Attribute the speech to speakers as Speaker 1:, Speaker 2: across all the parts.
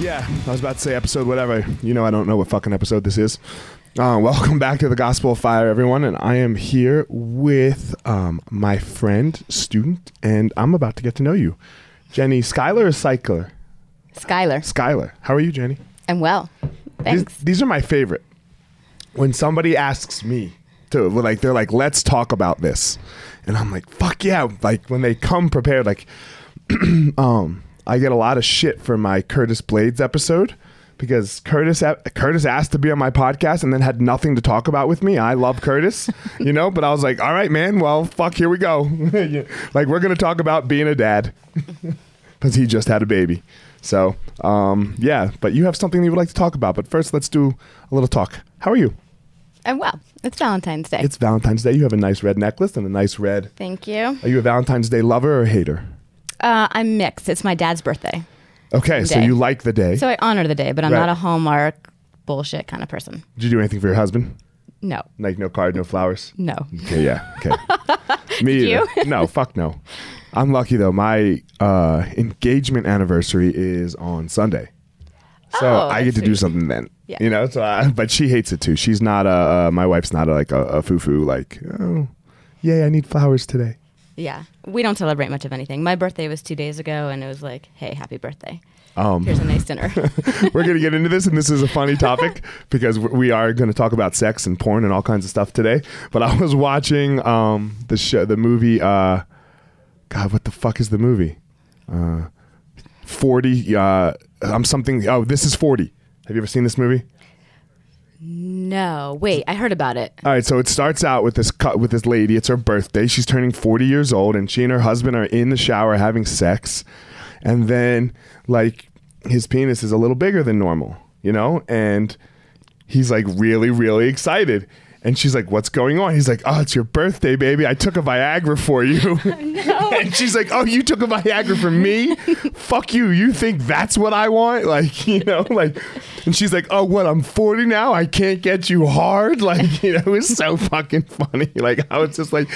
Speaker 1: Yeah, I was about to say episode whatever. You know, I don't know what fucking episode this is. Uh, welcome back to the Gospel of Fire, everyone, and I am here with um, my friend, student, and I'm about to get to know you, Jenny Skyler or Cycler?
Speaker 2: Skylar,
Speaker 1: Skyler. How are you, Jenny?
Speaker 2: I'm well.
Speaker 1: These,
Speaker 2: Thanks.
Speaker 1: these are my favorite. When somebody asks me to like, they're like, "Let's talk about this," and I'm like, "Fuck yeah!" Like when they come prepared, like, um, I get a lot of shit for my Curtis Blades episode because Curtis Curtis asked to be on my podcast and then had nothing to talk about with me. I love Curtis, you know, but I was like, "All right, man. Well, fuck, here we go. Yeah. like we're gonna talk about being a dad." because he just had a baby. So, um, yeah, but you have something you would like to talk about. But first, let's do a little talk. How are you?
Speaker 2: I'm well. It's Valentine's Day.
Speaker 1: It's Valentine's Day. You have a nice red necklace and a nice red.
Speaker 2: Thank you.
Speaker 1: Are you a Valentine's Day lover or hater?
Speaker 2: Uh, I'm mixed. It's my dad's birthday.
Speaker 1: Okay, so
Speaker 2: Day.
Speaker 1: you like the day.
Speaker 2: So I honor the day, but I'm
Speaker 1: Right.
Speaker 2: not a Hallmark bullshit kind of person.
Speaker 1: Did you do anything for your husband?
Speaker 2: No,
Speaker 1: Like no card, no flowers?
Speaker 2: no.
Speaker 1: Okay, yeah. Okay. Me
Speaker 2: Did
Speaker 1: either. no, fuck no. I'm lucky though. My uh, engagement anniversary is on Sunday. So
Speaker 2: Oh,
Speaker 1: I get to
Speaker 2: that's
Speaker 1: do
Speaker 2: sweet.
Speaker 1: something then.
Speaker 2: Yeah.
Speaker 1: You know, so I, but she hates it too. She's not a, uh, my wife's not a, like a, a foo-foo like, oh, yay, I need flowers today.
Speaker 2: Yeah, we don't celebrate much of anything. My birthday was two days ago, and it was like, hey, happy birthday.
Speaker 1: Um,
Speaker 2: Here's a nice dinner.
Speaker 1: we're going to get into this, and this is a funny topic because w- we are going to talk about sex and porn and all kinds of stuff today. But I was watching um, the show, the movie. Uh, God, what the fuck is the movie? Uh, Forty. Uh, I'm something. Oh, this is Forty. Have you ever seen this movie?
Speaker 2: no, wait, I heard about it.
Speaker 1: All right, so it starts out with this cut with this lady. It's her birthday. She's turning 40 years old and she and her husband are in the shower having sex. And then like his penis is a little bigger than normal, you know? And he's like really really excited. And she's like, "What's going on?" He's like, "Oh, it's your birthday, baby. I took a Viagra for you." and she's like, "Oh, you took a Viagra for me? Fuck you. You think that's what I want?" Like, you know, like and she's like, "Oh, what? I'm 40 now. I can't get you hard." Like, you know, it was so fucking funny. Like, I was just like,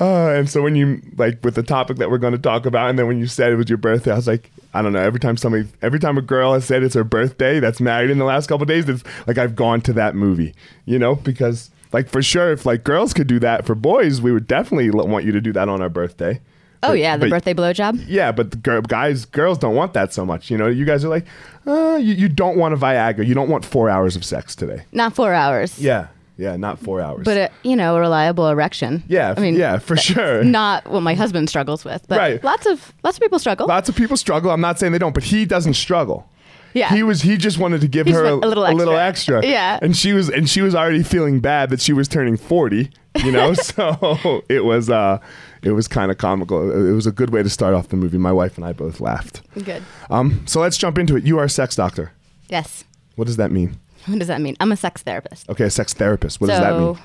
Speaker 1: uh, and so when you like with the topic that we're going to talk about, and then when you said it was your birthday, I was like, I don't know. Every time somebody, every time a girl has said it's her birthday that's married in the last couple of days, it's like I've gone to that movie, you know, because like for sure, if like girls could do that for boys, we would definitely lo- want you to do that on our birthday.
Speaker 2: Oh
Speaker 1: But-
Speaker 2: yeah, the
Speaker 1: but-
Speaker 2: birthday blowjob.
Speaker 1: Yeah, but the girl, guys, girls don't want that so much. You know, you guys are like, uh, you, you don't want a Viagra. You don't want four hours of sex today.
Speaker 2: Not four hours.
Speaker 1: Yeah, yeah, not four hours.
Speaker 2: But a, you know, a reliable erection.
Speaker 1: yeah,
Speaker 2: I mean,
Speaker 1: yeah, for sure.
Speaker 2: Not what my husband struggles with, but
Speaker 1: Right.
Speaker 2: lots of lots of people struggle.
Speaker 1: Lots of people struggle. I'm not saying they don't, but he doesn't struggle.
Speaker 2: Yeah.
Speaker 1: He was he just wanted to give
Speaker 2: He just
Speaker 1: her a,
Speaker 2: went a little
Speaker 1: a little
Speaker 2: extra.
Speaker 1: extra.
Speaker 2: Yeah.
Speaker 1: And she was and she was already feeling bad that she was turning 40, you know? so it was uh it was kind of comical. It was a good way to start off the movie. My wife and I both laughed.
Speaker 2: Good.
Speaker 1: Um so let's jump into it. You are a sex doctor.
Speaker 2: Yes.
Speaker 1: What does that mean?
Speaker 2: What does that mean? I'm a sex therapist.
Speaker 1: Okay, a sex therapist. What
Speaker 2: so
Speaker 1: does that mean?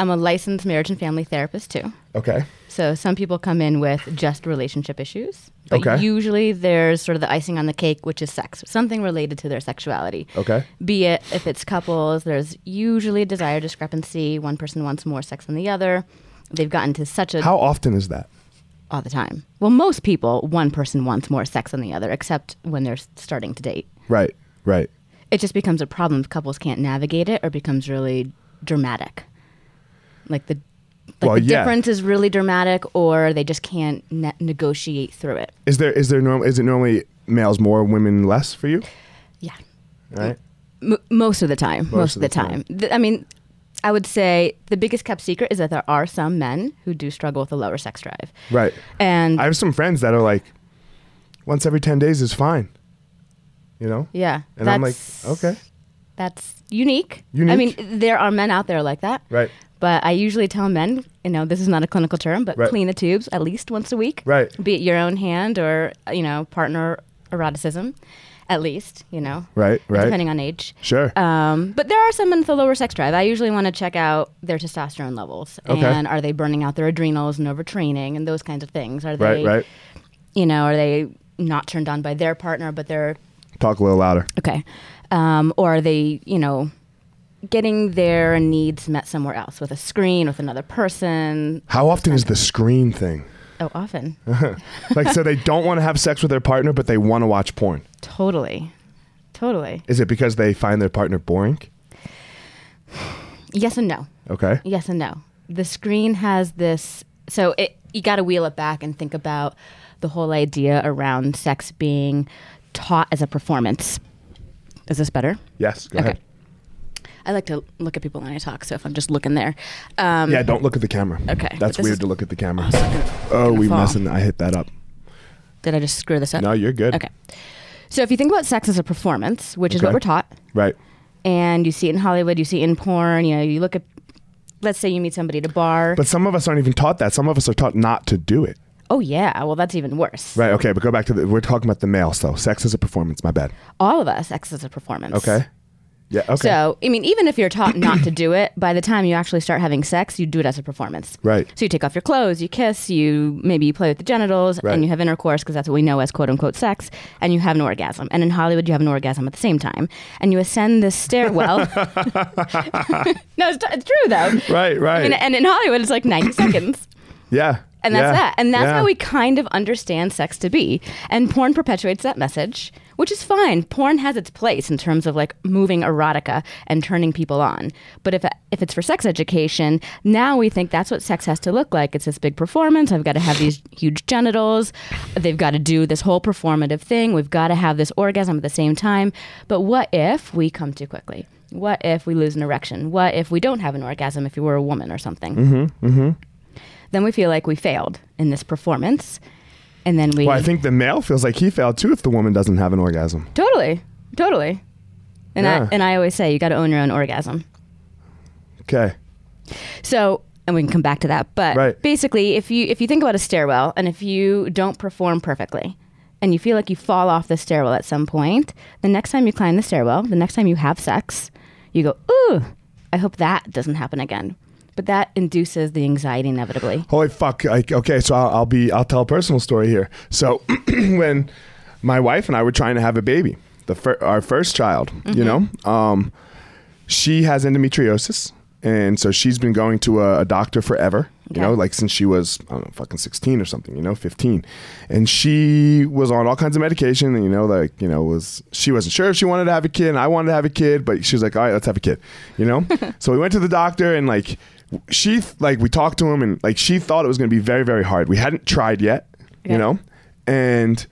Speaker 2: I'm a licensed marriage and family therapist too.
Speaker 1: Okay.
Speaker 2: So some people come in with just relationship issues. But
Speaker 1: Okay.
Speaker 2: usually there's sort of the icing on the cake, which is sex, something related to their sexuality.
Speaker 1: Okay.
Speaker 2: Be it if it's couples, there's usually a desire discrepancy. One person wants more sex than the other. They've gotten to such a
Speaker 1: How often is that?
Speaker 2: all the time. Well, most people, one person wants more sex than the other, except when they're starting to date.
Speaker 1: Right. Right.
Speaker 2: It just becomes a problem if couples can't navigate it or becomes really dramatic. Like the, like
Speaker 1: Well,
Speaker 2: the
Speaker 1: yeah.
Speaker 2: difference is really dramatic or they just can't ne- negotiate through it.
Speaker 1: Is there is there norm, is it normally males more, women less for you?
Speaker 2: Yeah.
Speaker 1: Right?
Speaker 2: M- most of the time. Most, of the, time. Th- I mean, I would say the biggest kept secret is that there are some men who do struggle with a lower sex drive.
Speaker 1: Right.
Speaker 2: And
Speaker 1: I have some friends that are like, once every 10 days is fine. You know?
Speaker 2: yeah.
Speaker 1: And I'm like,
Speaker 2: that's-
Speaker 1: okay.
Speaker 2: That's unique. I
Speaker 1: Unique?
Speaker 2: mean, there are men out there like that.
Speaker 1: Right.
Speaker 2: But I usually tell men, you know, this is not a clinical term, but
Speaker 1: Right.
Speaker 2: clean the tubes at least once a week.
Speaker 1: Right.
Speaker 2: Be it your own hand or, you know, partner eroticism, at least, you know.
Speaker 1: Right, right.
Speaker 2: Depending on age.
Speaker 1: Sure.
Speaker 2: Um, but there are some with a lower sex drive. I usually want to check out their testosterone levels
Speaker 1: Okay.
Speaker 2: and are they burning out their adrenals and overtraining and those kinds of things. Are
Speaker 1: right,
Speaker 2: they,
Speaker 1: right.
Speaker 2: you know, are they not turned on by their partner, but they're
Speaker 1: Talk a little louder.
Speaker 2: Okay. Um, or are they, you know, getting their needs met somewhere else with a screen, with another person?
Speaker 1: How often is the screen thing?
Speaker 2: Oh, often.
Speaker 1: Like, so they don't want to have sex with their partner, but they want to watch porn.
Speaker 2: totally. Totally.
Speaker 1: Is it because they find their partner boring?
Speaker 2: Yes and no.
Speaker 1: Okay.
Speaker 2: Yes and no. The screen has this. So it, you got to wheel it back and think about the whole idea around sex being taught as a performance. Is this better?
Speaker 1: Yes, go
Speaker 2: Okay.
Speaker 1: ahead.
Speaker 2: I like to look at people when I talk, so if I'm just looking there. Um,
Speaker 1: Yeah, don't look at the camera.
Speaker 2: Okay, but
Speaker 1: That's
Speaker 2: this
Speaker 1: weird
Speaker 2: is-
Speaker 1: to look at the camera.
Speaker 2: gonna-
Speaker 1: Oh,
Speaker 2: gonna
Speaker 1: we
Speaker 2: fall.
Speaker 1: mustn't. I hit that up.
Speaker 2: Did I just screw this up?
Speaker 1: No, you're good.
Speaker 2: Okay. So if you think about sex as a performance, which is
Speaker 1: Okay.
Speaker 2: what we're taught,
Speaker 1: Right.
Speaker 2: and you see it in Hollywood, you see it in porn, you know, you look at, let's say you meet somebody at a bar.
Speaker 1: But some of us aren't even taught that. Some of us are taught not to do it.
Speaker 2: oh, yeah. Well, that's even worse.
Speaker 1: Right. Okay. But go back to the. We're talking about the male, so sex is a performance. My bad.
Speaker 2: All of us, sex as a performance.
Speaker 1: Okay. Yeah. Okay.
Speaker 2: So, I mean, even if you're taught not to do it, by the time you actually start having sex, you do it as a performance.
Speaker 1: Right.
Speaker 2: So you take off your clothes, you kiss, you maybe you play with the genitals,
Speaker 1: Right.
Speaker 2: and you have intercourse because that's what we know as quote unquote sex, and you have an orgasm. And in Hollywood, you have an orgasm at the same time, and you ascend this stairwell. no, it's, it's true though.
Speaker 1: Right, right.
Speaker 2: I mean, and in Hollywood, it's like 90 seconds.
Speaker 1: yeah.
Speaker 2: And that's
Speaker 1: yeah,
Speaker 2: that. And that's
Speaker 1: yeah.
Speaker 2: how we kind of understand sex to be. And porn perpetuates that message, which is fine. Porn has its place in terms of like moving erotica and turning people on. But if if it's for sex education, now we think that's what sex has to look like. It's this big performance. I've got to have these huge genitals. They've got to do this whole performative thing. We've got to have this orgasm at the same time. But what if we come too quickly? What if we lose an erection? What if we don't have an orgasm if you were a woman or something? then we feel like we failed in this performance and then we
Speaker 1: Well, I think the male feels like he failed too if the woman doesn't have an orgasm.
Speaker 2: totally totally and
Speaker 1: Yeah.
Speaker 2: i and i always say you got to own your own orgasm
Speaker 1: Okay.
Speaker 2: so and we can come back to that but
Speaker 1: Right.
Speaker 2: basically if you if you think about a stairwell and if you don't perform perfectly and you feel like you fall off the stairwell at some point the next time you climb the stairwell the next time you have sex you go ooh I hope that doesn't happen again. But that induces the anxiety inevitably.
Speaker 1: Holy fuck! I, okay, so I'll, I'll be I'll tell a personal story here. So when my wife and I were trying to have a baby, the fir- our first child, you know, um, she has endometriosis, and so she's been going to a, a doctor forever. You
Speaker 2: Okay.
Speaker 1: know, like since she was I don't know, fucking sixteen or something. You know, fifteen, and she was on all kinds of medication. And you know, like you know, was she wasn't sure if she wanted to have a kid, and I wanted to have a kid, but she was like, all right, let's have a kid. You know, so we went to the doctor, and like she like we talked to him, and like she thought it was going to be very very hard. We hadn't tried yet.
Speaker 2: Yeah.
Speaker 1: You know, and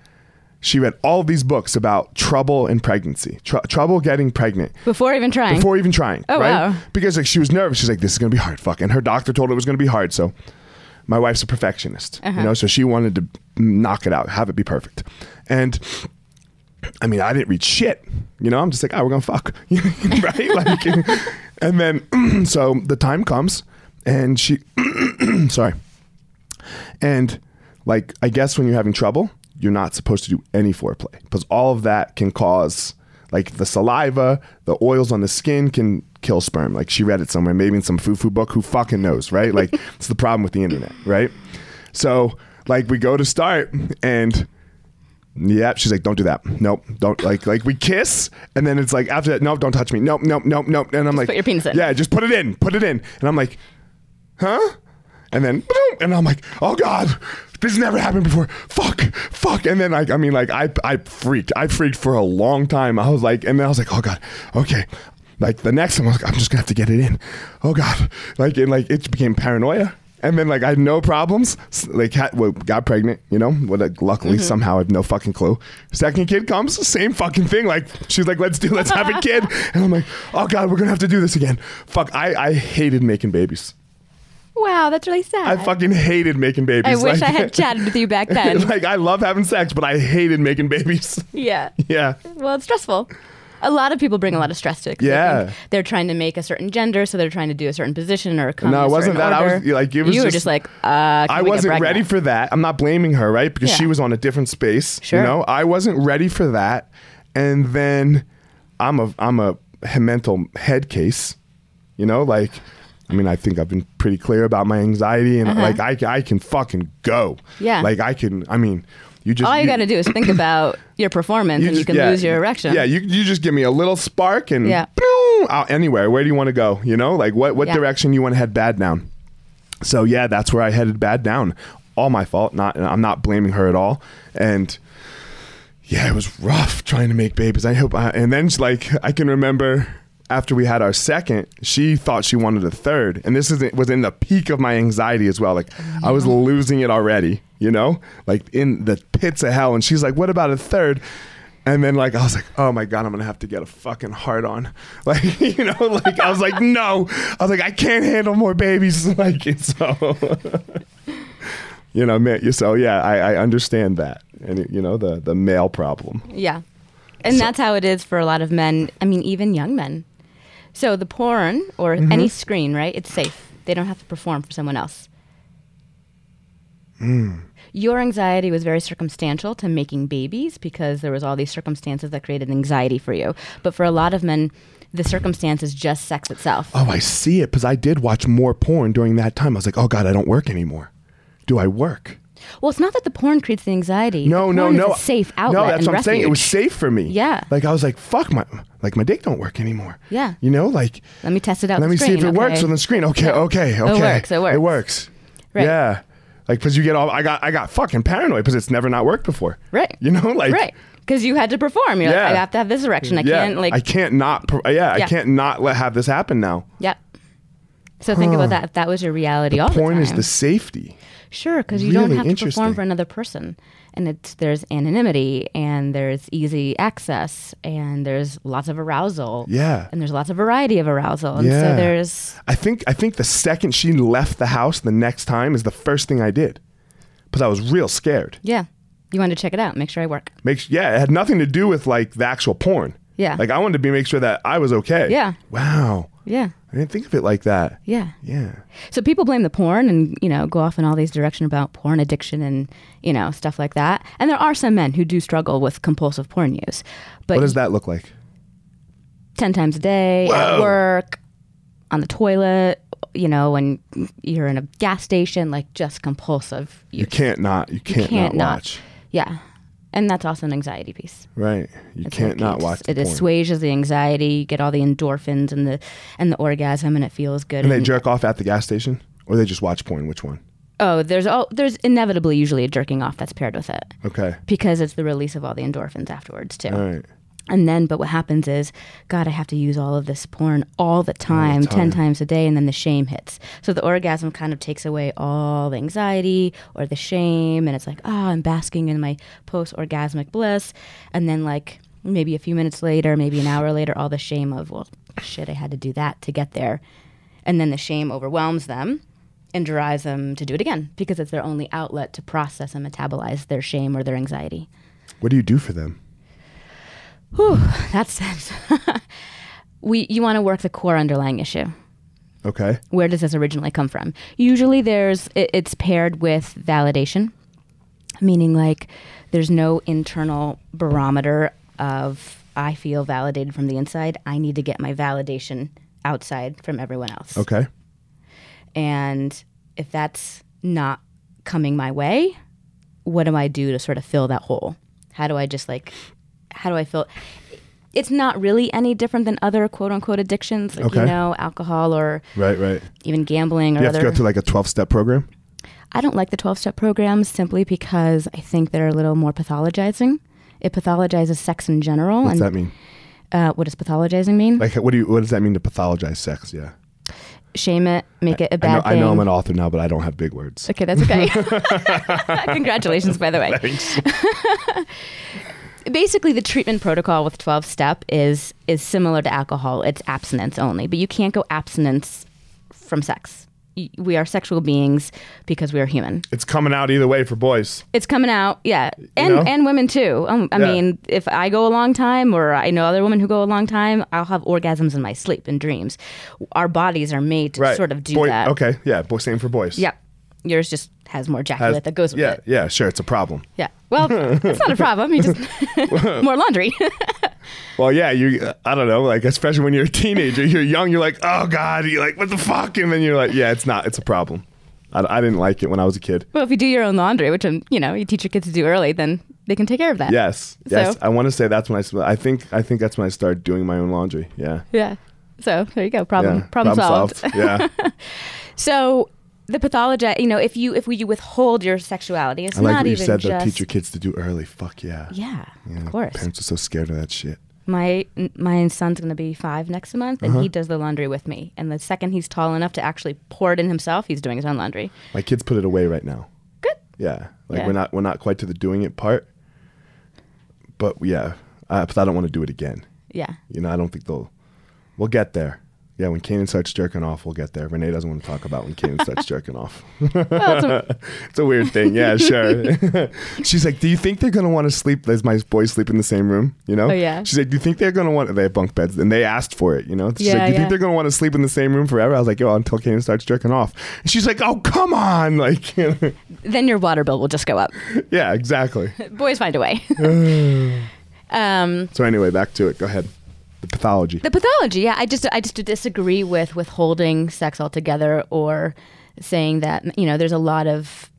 Speaker 1: she read all these books about trouble in pregnancy, tr- trouble getting pregnant
Speaker 2: Before even trying.
Speaker 1: before even trying.
Speaker 2: Oh,
Speaker 1: right?
Speaker 2: wow.
Speaker 1: Because like she was nervous. She's like, "This is gonna be hard." Fuck. And her doctor told her it was gonna be hard. So, my wife's a perfectionist,
Speaker 2: Uh-huh.
Speaker 1: you know, so she wanted to knock it out, have it be perfect, and. I mean, I didn't read shit. You know, I'm just like, oh, we're gonna fuck, right? Like, and then so the time comes, and she, sorry, and like I guess when you're having trouble, you're not supposed to do any foreplay because all of that can cause like the saliva, the oils on the skin can kill sperm. Like she read it somewhere, maybe in some foo-foo book. Who fucking knows, right? Like it's the problem with the internet, right? So like we go to start and. Yeah, she's like, don't do that. Nope, don't like like we kiss, and then it's like after that, nope, don't touch me. Nope, nope, nope, nope. And I'm like,
Speaker 2: put your penis in.
Speaker 1: Yeah, just put it in, put it in. And I'm like, huh? And then, "Ba-dum," and I'm like, oh god, this never happened before. Fuck, fuck. And then like, I mean, like I I freaked, I freaked for a long time. I was like, and then I was like, oh god, okay. Like the next time, I was like, I'm just gonna have to get it in. Oh god, like and like it became paranoia. And then like I had no problems. S- Like had, well, got pregnant, you know. Well, like, luckily somehow I have no fucking clue. Second kid comes, same fucking thing. Like she's like, let's do, let's have a kid. And I'm like, oh god, we're gonna have to do this again. Fuck, I I hated making babies.
Speaker 2: wow, that's really sad.
Speaker 1: I fucking hated making babies.
Speaker 2: I wish
Speaker 1: Like-
Speaker 2: I had chatted with you back then.
Speaker 1: like I love having sex, but I hated making babies.
Speaker 2: yeah.
Speaker 1: yeah.
Speaker 2: Well, it's stressful. A lot of people bring a lot of stress to it. 'cause they
Speaker 1: Yeah.
Speaker 2: think They're trying to make a certain gender, so they're trying to do a certain position or come
Speaker 1: No,
Speaker 2: in
Speaker 1: it
Speaker 2: a
Speaker 1: wasn't
Speaker 2: certain
Speaker 1: that. I was-
Speaker 2: order.
Speaker 1: like, it was
Speaker 2: you were
Speaker 1: just-
Speaker 2: just like, uh, can
Speaker 1: I
Speaker 2: we get
Speaker 1: wasn't
Speaker 2: pregnant?
Speaker 1: ready for that. I'm not blaming her, right? Because she
Speaker 2: Yeah.
Speaker 1: was on a different space.
Speaker 2: Sure.
Speaker 1: You know, I wasn't ready for that. And then I'm a I'm a he- mental head case. You know, like I mean, I think I've been pretty clear about my anxiety and like I I can fucking go.
Speaker 2: Uh-huh. Yeah.
Speaker 1: Like I can. I mean, you just
Speaker 2: All you, got to do is think about your performance, and you
Speaker 1: just-
Speaker 2: can
Speaker 1: yeah,
Speaker 2: lose your erection.
Speaker 1: Yeah, you, you just give me a little spark and
Speaker 2: Yeah.
Speaker 1: boom, out anywhere. Where do you want to go? You know, like what, what
Speaker 2: Yeah.
Speaker 1: direction you want to head bad down. So yeah, that's where I headed bad down. All my fault. Not I'm not blaming her at all. And yeah, it was rough trying to make babies. I hope. I, and then like I can remember after we had our second, she thought she wanted a third, and this is was in the peak of my anxiety as well. Like I was losing it already, you know, like in the pits of hell. And she's like, "What about a third? And then like I was like, oh my god, I'm gonna have to get a fucking heart on, like you know, like I was like, no, I was like, I can't handle more babies, like and so, you know, man, so yeah, I, I understand that, and it, you know, the the male problem.
Speaker 2: Yeah. And that's how it is for a lot of men. I mean, even young men. So the porn or
Speaker 1: Mm-hmm.
Speaker 2: any screen, right? It's safe. They don't have to perform for someone else.
Speaker 1: Hmm.
Speaker 2: Your anxiety was very circumstantial to making babies because there was all these circumstances that created anxiety for you. But for a lot of men, the circumstance is just sex itself.
Speaker 1: Oh, I see it because I did watch more porn during that time. I was like, oh god, I don't work anymore. Do I work?
Speaker 2: Well, it's not that the porn creates the anxiety.
Speaker 1: No,
Speaker 2: The
Speaker 1: no,
Speaker 2: porn is
Speaker 1: no.
Speaker 2: a safe outlet.
Speaker 1: No, that's
Speaker 2: and
Speaker 1: what I'm saying. It was
Speaker 2: refuge.
Speaker 1: safe for me.
Speaker 2: Yeah.
Speaker 1: Like I was like, fuck my, like my dick don't work anymore.
Speaker 2: Yeah.
Speaker 1: You know, like
Speaker 2: Let me test it out.
Speaker 1: Let
Speaker 2: the
Speaker 1: me see if
Speaker 2: screen,
Speaker 1: it works
Speaker 2: okay?
Speaker 1: on the screen. Okay,
Speaker 2: Yeah.
Speaker 1: okay,
Speaker 2: It
Speaker 1: okay.
Speaker 2: works, it works.
Speaker 1: It works.
Speaker 2: Right.
Speaker 1: Yeah. Like, because you get all, I got, I got fucking paranoid because it's never not worked before.
Speaker 2: Right.
Speaker 1: You know, like,
Speaker 2: right because you had to perform you're
Speaker 1: Yeah.
Speaker 2: like i have to have this erection i
Speaker 1: yeah,
Speaker 2: can't like
Speaker 1: I can't not, pr- yeah, I
Speaker 2: Yeah.
Speaker 1: can't not let have this happen now.
Speaker 2: yeah so think about that if that was your reality all
Speaker 1: Porn
Speaker 2: the
Speaker 1: is
Speaker 2: time
Speaker 1: the safety.
Speaker 2: sure because you don't
Speaker 1: really
Speaker 2: have to perform
Speaker 1: interesting.
Speaker 2: for another person and it's there's anonymity and there's easy access and there's lots of arousal
Speaker 1: Yeah.
Speaker 2: and there's lots of variety of arousal and
Speaker 1: Yeah.
Speaker 2: so there's
Speaker 1: I think, I think the second she left the house the next time is the first thing I did because I was real scared.
Speaker 2: yeah you want to check it out make sure i work
Speaker 1: Make s- yeah, it had nothing to do with like the actual porn.
Speaker 2: Yeah.
Speaker 1: Like I wanted to be make sure that I was okay.
Speaker 2: Yeah.
Speaker 1: Wow.
Speaker 2: yeah
Speaker 1: I didn't think of it like that.
Speaker 2: yeah
Speaker 1: Yeah.
Speaker 2: So people blame the porn and, you know, go off in all these direction about porn addiction and, you know, stuff like that. And there are some men who do struggle with compulsive porn use. But
Speaker 1: What does that look like?
Speaker 2: 10 times a day at
Speaker 1: Whoa.
Speaker 2: work on the toilet, you know, when you're in a gas station, like just compulsive.
Speaker 1: You can't not. You can't,
Speaker 2: can't
Speaker 1: not
Speaker 2: not.
Speaker 1: watch.
Speaker 2: Yeah. And that's also an anxiety piece.
Speaker 1: Right. You
Speaker 2: It's
Speaker 1: can't
Speaker 2: like
Speaker 1: not
Speaker 2: it's-
Speaker 1: watch. the
Speaker 2: It
Speaker 1: porn.
Speaker 2: assuages the anxiety. You get all the endorphins and the and the orgasm, and it feels good.
Speaker 1: And they jerk off at the gas station, or they just watch porn. Which one?
Speaker 2: oh, there's all there's inevitably usually a jerking off that's paired with it
Speaker 1: Okay.
Speaker 2: because it's the release of all the endorphins afterwards too.
Speaker 1: All right.
Speaker 2: And then, but what happens is, God, I have to use all of this porn all the time, 10 times a day, and then the shame hits. So the orgasm kind of takes away all the anxiety or the shame, and it's like, oh, I'm basking in my post orgasmic bliss. And then, like, maybe a few minutes later, maybe an hour later, all the shame of, well, shit, I had to do that to get there. And then the shame overwhelms them and drives them to do it again because it's their only outlet to process and metabolize their shame or their anxiety.
Speaker 1: What do you do for them?
Speaker 2: Whew, that's sense. we you want to work the core underlying issue.
Speaker 1: Okay.
Speaker 2: Where does this originally come from? Usually, there's it, it's paired with validation, meaning like there's no internal barometer of I feel validated from the inside. I need to get my validation outside from everyone else.
Speaker 1: Okay.
Speaker 2: And if that's not coming my way, what do I do to sort of fill that hole? How do I just like, how do I fill? It's not really any different than other quote unquote addictions, like,
Speaker 1: Okay.
Speaker 2: you know, alcohol or
Speaker 1: Right. Right.
Speaker 2: even gambling or
Speaker 1: You have to
Speaker 2: other.
Speaker 1: go through like a twelve step program.
Speaker 2: I don't like the 12 step programs simply because I think they're a little more pathologizing. It pathologizes sex in general.
Speaker 1: What's
Speaker 2: and
Speaker 1: that mean?
Speaker 2: Uh, what does pathologizing mean?
Speaker 1: Like, what do you? What does that mean to pathologize sex? Yeah.
Speaker 2: Shame it, make it a
Speaker 1: I know,
Speaker 2: bad
Speaker 1: I
Speaker 2: thing.
Speaker 1: know I'm an author now, but I don't have big words.
Speaker 2: Okay, that's okay. Congratulations, by the way. Basically, the treatment protocol with 12 step is is similar to alcohol. It's abstinence only, but you can't go abstinence from sex. Y- We are sexual beings because we are human.
Speaker 1: It's coming out either way for boys.
Speaker 2: It's coming out, yeah, and
Speaker 1: know?
Speaker 2: and women too. Um, I
Speaker 1: Yeah.
Speaker 2: mean, if I go a long time, or I know other women who go a long time, I'll have orgasms in my sleep and dreams. Our bodies are made to
Speaker 1: Right.
Speaker 2: sort of do
Speaker 1: Boy-
Speaker 2: that.
Speaker 1: Okay. Yeah. Boy, same for boys.
Speaker 2: Yep. Yours just has more ejaculate
Speaker 1: Has-
Speaker 2: that goes with
Speaker 1: yeah,
Speaker 2: it.
Speaker 1: Yeah. Sure. It's a problem.
Speaker 2: Yeah. Well, it's not a problem. You just more laundry.
Speaker 1: Well, yeah, you. I don't know. Like, especially when you're a teenager, you're young. You're like, oh god, you're like, what the fuck? And then you're like, yeah, it's not. It's a problem. I, I didn't like it when I was a kid.
Speaker 2: well, if you do your own laundry, which um, you know you teach your kids to do early, then they can take care of that.
Speaker 1: Yes, yes.
Speaker 2: So-
Speaker 1: I want to say that's when I. s- I think. I think that's when I started doing my own laundry. Yeah.
Speaker 2: Yeah. So there you go. Problem.
Speaker 1: yeah.
Speaker 2: Problem, solved.
Speaker 1: yeah.
Speaker 2: So the pathology, you know, if you if you withhold your sexuality, it's
Speaker 1: I like
Speaker 2: not
Speaker 1: what you
Speaker 2: even
Speaker 1: said. though.
Speaker 2: just.
Speaker 1: Teach your kids to do early. Fuck yeah.
Speaker 2: yeah,
Speaker 1: Yeah,
Speaker 2: of course.
Speaker 1: Parents are so scared of that shit.
Speaker 2: My my son's gonna be five next month,
Speaker 1: Uh-huh.
Speaker 2: and he does the laundry with me. And the second he's tall enough to actually pour it in himself, he's doing his own laundry.
Speaker 1: My kids put it away right now.
Speaker 2: Good.
Speaker 1: Yeah. Like
Speaker 2: Yeah.
Speaker 1: we're not we're not quite to the doing it part. But yeah, I, but I don't want to do it again.
Speaker 2: Yeah.
Speaker 1: You know, I don't think they'll. We'll get there. Yeah, when Kanan starts jerking off, we'll get there. Renee doesn't want to talk about when Kanan starts jerking off. it's a weird thing. Yeah, sure. She's like, "Do you think they're gonna want to sleep? Does my boys sleep in the same room? You know?
Speaker 2: Oh, yeah.
Speaker 1: She's like, "Do you think they're gonna want? They have bunk beds, and they asked for it. You know? She's like,
Speaker 2: Yeah,
Speaker 1: "Do you
Speaker 2: yeah.
Speaker 1: think they're gonna want to sleep in the same room forever? I was like, "Yo, until Kanan starts jerking off. And she's like, "Oh, come on! Like,
Speaker 2: Then your water bill will just go up.
Speaker 1: yeah, exactly.
Speaker 2: Boys find a way. um.
Speaker 1: So anyway, back to it. Go ahead. The pathology.
Speaker 2: the pathology yeah i just i just disagree with withholding sex altogether or saying that you know there's a lot of